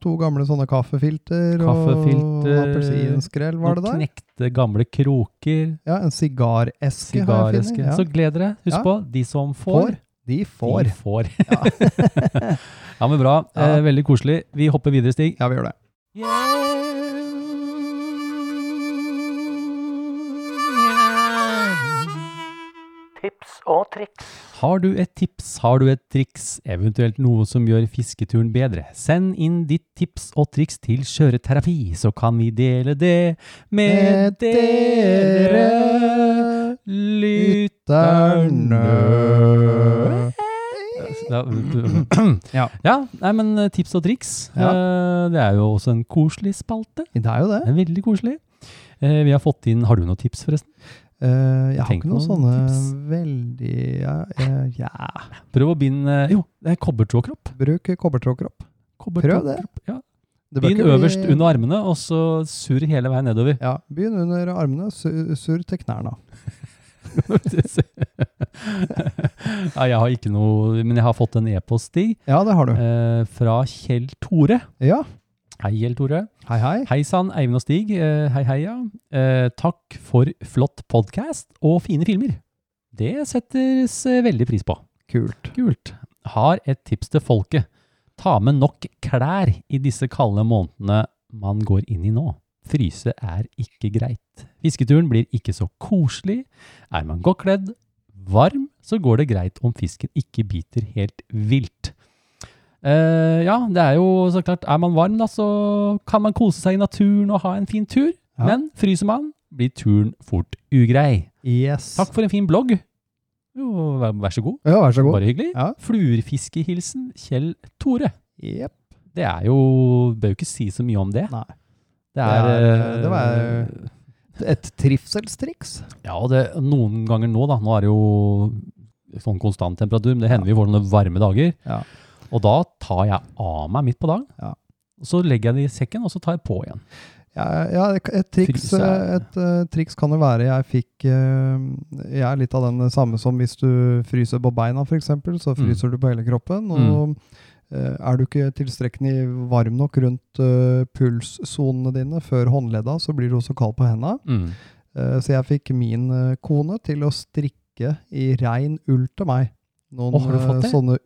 to gamle sånne kaffefilter, Kaffefilter, og appelsinskrell noen var det der. knekte gamle kroker. Ja, en sigareske har jeg Sigareske. funnet. Ja. Så gled dere. Husk Ja. på, de som Får. får, De får. de får. Ja. <laughs> men bra. Eh, veldig koselig. Vi hopper videre, Stig. Ja, vi gjør det. Tips og triks. Har du et tips, har du et triks, eventuelt noe som gjør fisketuren bedre? Send inn ditt tips og triks til Kjøreterapi, så kan vi dele det med dere lytterne. Ja, Ja. ja, nei, men eh, tips og triks, eh, det er jo også en koselig spalte. Det er jo det. Det er veldig koselig. Eh, Vi har fått inn, har du noen tips forresten? Eh, jeg har Tenk ikke noen noen sånne tips. veldig ja, eh, ja. Prøv å binde, eh, jo, det er kobbertrådkropp. Bruk kobbertrådkropp. Prøv det. Kobbertrådkropp, Ja. Det bør Begynn ikke bli- øverst under armene, og så surr hele veien nedover. Ja, begynn under armene, sur, sur til knærne. <laughs> ja, jeg har ikke noe, men jeg har fått en e-post Stig, Ja, det har du. eh, fra Kjell Tore. Ja, Hei, Kjell Tore. hei hei. Hei sann, Eivind og Stig. Eh, hei, hei, ja. Eh, takk for flott podkast og fine filmer. Det settes eh, veldig pris på. Kult. Kult. Har et tips til folket. Ta med nok klær i disse kalde månedene man går inn i nå. Fryse er ikke greit. Fisketuren blir ikke så koselig. Er man godt kledd, varm, så går det greit om fisken ikke biter helt vilt. Eh, ja, det er jo så klart, er man varm da, så kan man kose seg i naturen og ha en fin tur. Ja. Men fryser man, blir turen fort ugrei. Yes. Takk for en fin blogg. Jo, vær, vær så god. Ja, vær så god. Bare hyggelig. Ja. Fluerfiskehilsen Kjell Tore. Jep. Det er jo Bør jo ikke si så mye om det. Nei. Det Det er, er- det eh, Et trivselstriks. Ja, og det, noen ganger nå, da. Nå er det jo sånn konstant temperatur, men det hender vi får noen varme dager. Ja. Og da tar jeg av meg midt på dagen. Ja. Og Så legger jeg det i sekken, og så tar jeg på igjen. Ja, ja et, triks, Fryse er- et eh, triks kan jo være jeg fikk eh, Jeg er litt av den samme som hvis du fryser på beina, f.eks., så Mm. fryser du på hele kroppen. Og eh, er du ikke tilstrekkelig varm nok rundt eh, pulssonene dine før håndledda, så blir du også kald på henda. Eh, så jeg fikk min eh, kone til å strikke i rein ull til meg. Noen Å, har du fått eh, det? sånne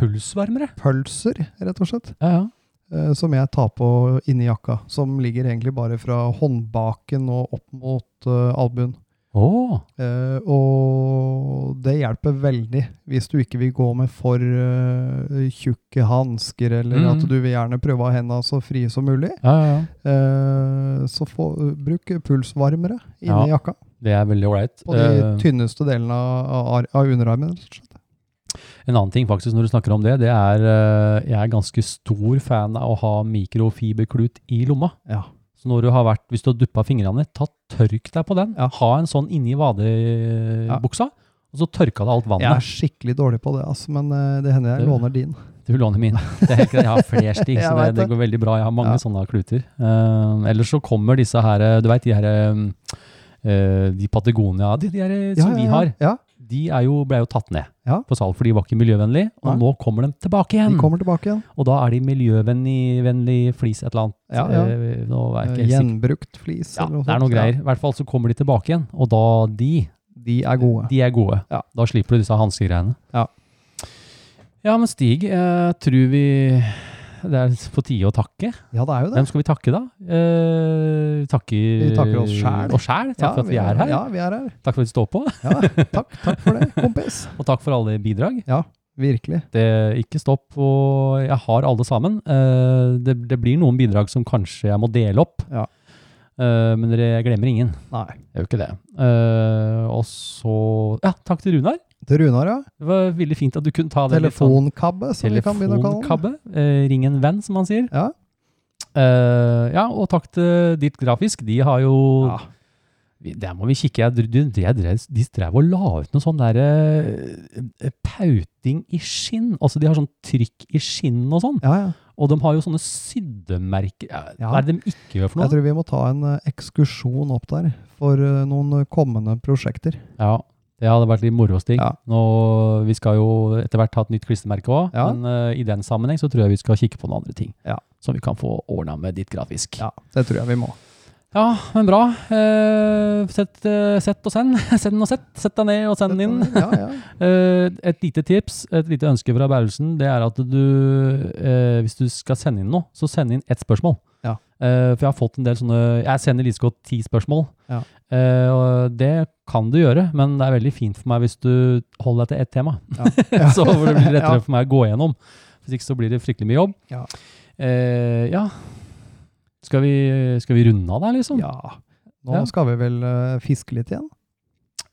Pulsvarmere. ullpølser, rett og slett Ja, ja. eh, som jeg tar på inni jakka, som ligger egentlig bare fra håndbaken og opp mot eh, albuen. Å, Eh, og det hjelper veldig hvis du ikke vil gå med for eh, tjukke hansker, eller Mm. at du vil gjerne prøve å ha hendene så frie som mulig. ja, ja, ja. Eh, så få, bruk pulsvarmere inni Ja. jakka, Det er veldig ålreit. på de Eh, tynneste delene av, av, av underarmen. rett og slett. En annen ting faktisk når du snakker om det, det er eh, jeg er ganske stor fan av å ha mikrofiberklut i lomma. Ja. Så når du har vært, hvis du har duppa fingrene, ta tørk deg på den. Ja. Ha en sånn inni vadebuksa, og så tørka det alt Jeg er vannet. skikkelig dårlig på det, altså, men eh, det hender jeg Du- låner din. <laughs> Du låner min. Det er ikke det. Jeg har flere <laughs> stig, så Jeg det, vet det det. går veldig bra. Jeg har mange Ja. sånne kluter. Eh, ellers så kommer disse her, eh, du veit de her eh, eh, de Patagonia de, de her, eh, som vi har, Ja, de er jo, ble jo tatt ned Ja. på salg, for de var ikke miljøvennlige. Og Nei. nå kommer de tilbake igjen! De kommer tilbake igjen. Og da er de miljøvennlig vennlig flis et eller annet. Ja, ja. Eh, Nå er jeg ikke helt sikker. Gjenbrukt flis. Ja, eller noe det er sånt. noe greier. I hvert fall så kommer de tilbake igjen, og da de, Ja, de er gode. de er gode. Ja. Da slipper du disse hanskegreiene. Ja. Ja, men Stig, jeg tror vi det er på tide å takke. Ja, det er jo det. Hvem skal vi takke, da? Eh, vi takker, Vi takker oss selv. Oss selv. Takk ja, for at vi er her. Ja, vi er her. Takk for at vi står på, Ja, takk, takk for det, <laughs> kompis. og takk for alle bidrag. Virkelig. det, ikke stopp, og jeg har alle sammen. Eh, det, det blir noen bidrag som kanskje jeg må dele opp, Ja. Eh, men dere, jeg glemmer ingen. Nei. Jeg gjør ikke det. Eh, og så Ja, takk til Runar. Til Runar, ja. Det var veldig fint at du kunne ta det. litt sånn- Telefonkabbe, som vi kan begynne å kalle den. Telefonkabbe. Eh, ring en venn, som han sier. Ja. Eh, ja, og takk til Ditt Grafisk. De har jo Ja. Vi- Der må vi kikke. Jeg, dr- du, jeg drev, de drev og la ut noe sånn derre pauting i skinn. Altså, de har sånn trykk i skinn og sånn. Ja, ja. Og de har jo sånne syddemerker. Ja, Ja. Hva er det de ikke gjør for noe? Jeg tror vi må ta en eh, ekskursjon opp der for eh, noen kommende prosjekter. Ja, det hadde vært litt moro, Stig. Ja. Nå, vi skal jo etter hvert ha et nytt klistremerke òg, Ja. men eh, i den sammenheng så tror jeg vi skal kikke på noen andre ting. Ja. Som vi kan få ordna med ditt grafisk. Ja, det tror jeg vi må. Ja, men bra. Eh, sett, eh, sett og send. <laughs> Send og sett. Sett deg ned og send den inn. Ja, ja. <laughs> Eh, et lite tips, et lite ønske fra Bærelsen, det er at du, eh, hvis du skal sende inn noe, så send inn ett spørsmål. Ja. Eh, for jeg har fått en del sånne, jeg sender like så godt ti spørsmål. Ja. Eh, og det kan du gjøre, men det er veldig fint for meg hvis du holder deg til ett tema. <laughs> så det blir lettere Ja. for meg å gå gjennom. Hvis ikke så blir det fryktelig mye jobb. Ja. Eh, ja. Skal vi, skal vi runde av der, liksom? ja. Nå Ja. skal vi vel eh, fiske litt igjen.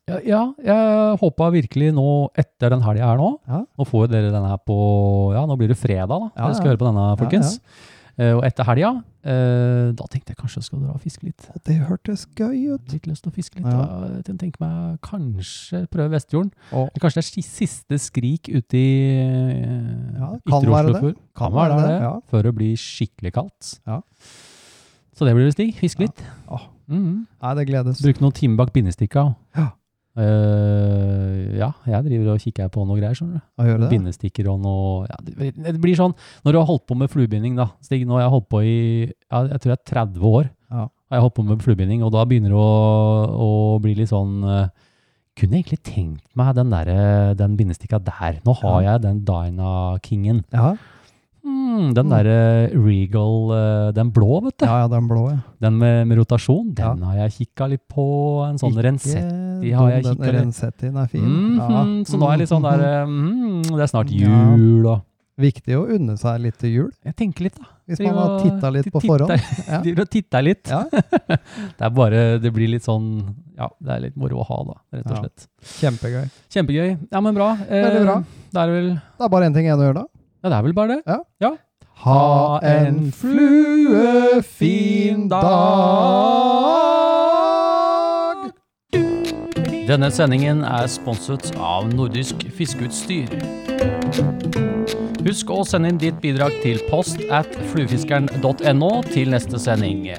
Ja, ja, jeg håpa virkelig nå etter den helga her nå. Ja. Nå får jo dere denne her på Ja, nå blir det fredag, da. Ja, dere skal ja. høre på denne, Ja, folkens. Eh, og etter helga, eh, da tenkte jeg kanskje jeg skal dra og fiske litt. Og det hørtes gøy ut. Litt lyst til å fiske litt. Ja. Ja. Jeg tenker meg kanskje prøve Vestfjorden. Å. Eller Kanskje det er si- siste skrik ute i eh, Ja, det kan Ytre Oslo være det. før. Kan være det, ja. før det blir skikkelig kaldt. Ja. Så det blir det, Stig. Fiske Ja. litt. Åh. Mhm. Nei, det gledes. Bruke noen timer bak bindestikka. Ja. Eh, ja, jeg driver og kikker på noe greier. skjønner du. Å gjøre det. Bindestikker og noe ja, det, det blir sånn, Når du har holdt på med fluebinding, da Stig, nå har jeg holdt på i ja, jeg tror jeg er 30 år, Ja. har jeg holdt på med fluebinding, og da begynner det å, å bli litt sånn eh, Kunne jeg egentlig tenkt meg den, der, eh, den bindestikka der. Nå har jeg den Dyna Kingen. Ja, Mm, den derre Regal, eh, den blå, vet du. ja, ja den blå, ja. Den med, med rotasjon, den har jeg kikka litt på. En sånn rensett. Ikke har jeg dum, kikket litt. Den Rensetti, den er fin. Ja. Mhm, Så nå er jeg litt sånn <laughs> der eh, mm, Det er snart Ja. jul, og Viktig å unne seg litt til jul, Jeg tenker litt, da. hvis Driver man har og titta litt på titter- forhånd. Ja. Driver og titter litt. Ja. Det er bare Det blir litt sånn Ja, det er litt moro å ha, da, rett og Ja. slett. Kjempegøy. Kjempegøy. Ja, men bra. Veldig bra. Det er vel Det er bare én ting igjen å gjøre, da. Ja, det er vel bare det. Ha en fluefin dag! Denne sendingen er sponset av Nordisk Fiskeutstyr. Husk å sende inn ditt bidrag til post at fluefiskeren.no til neste sending.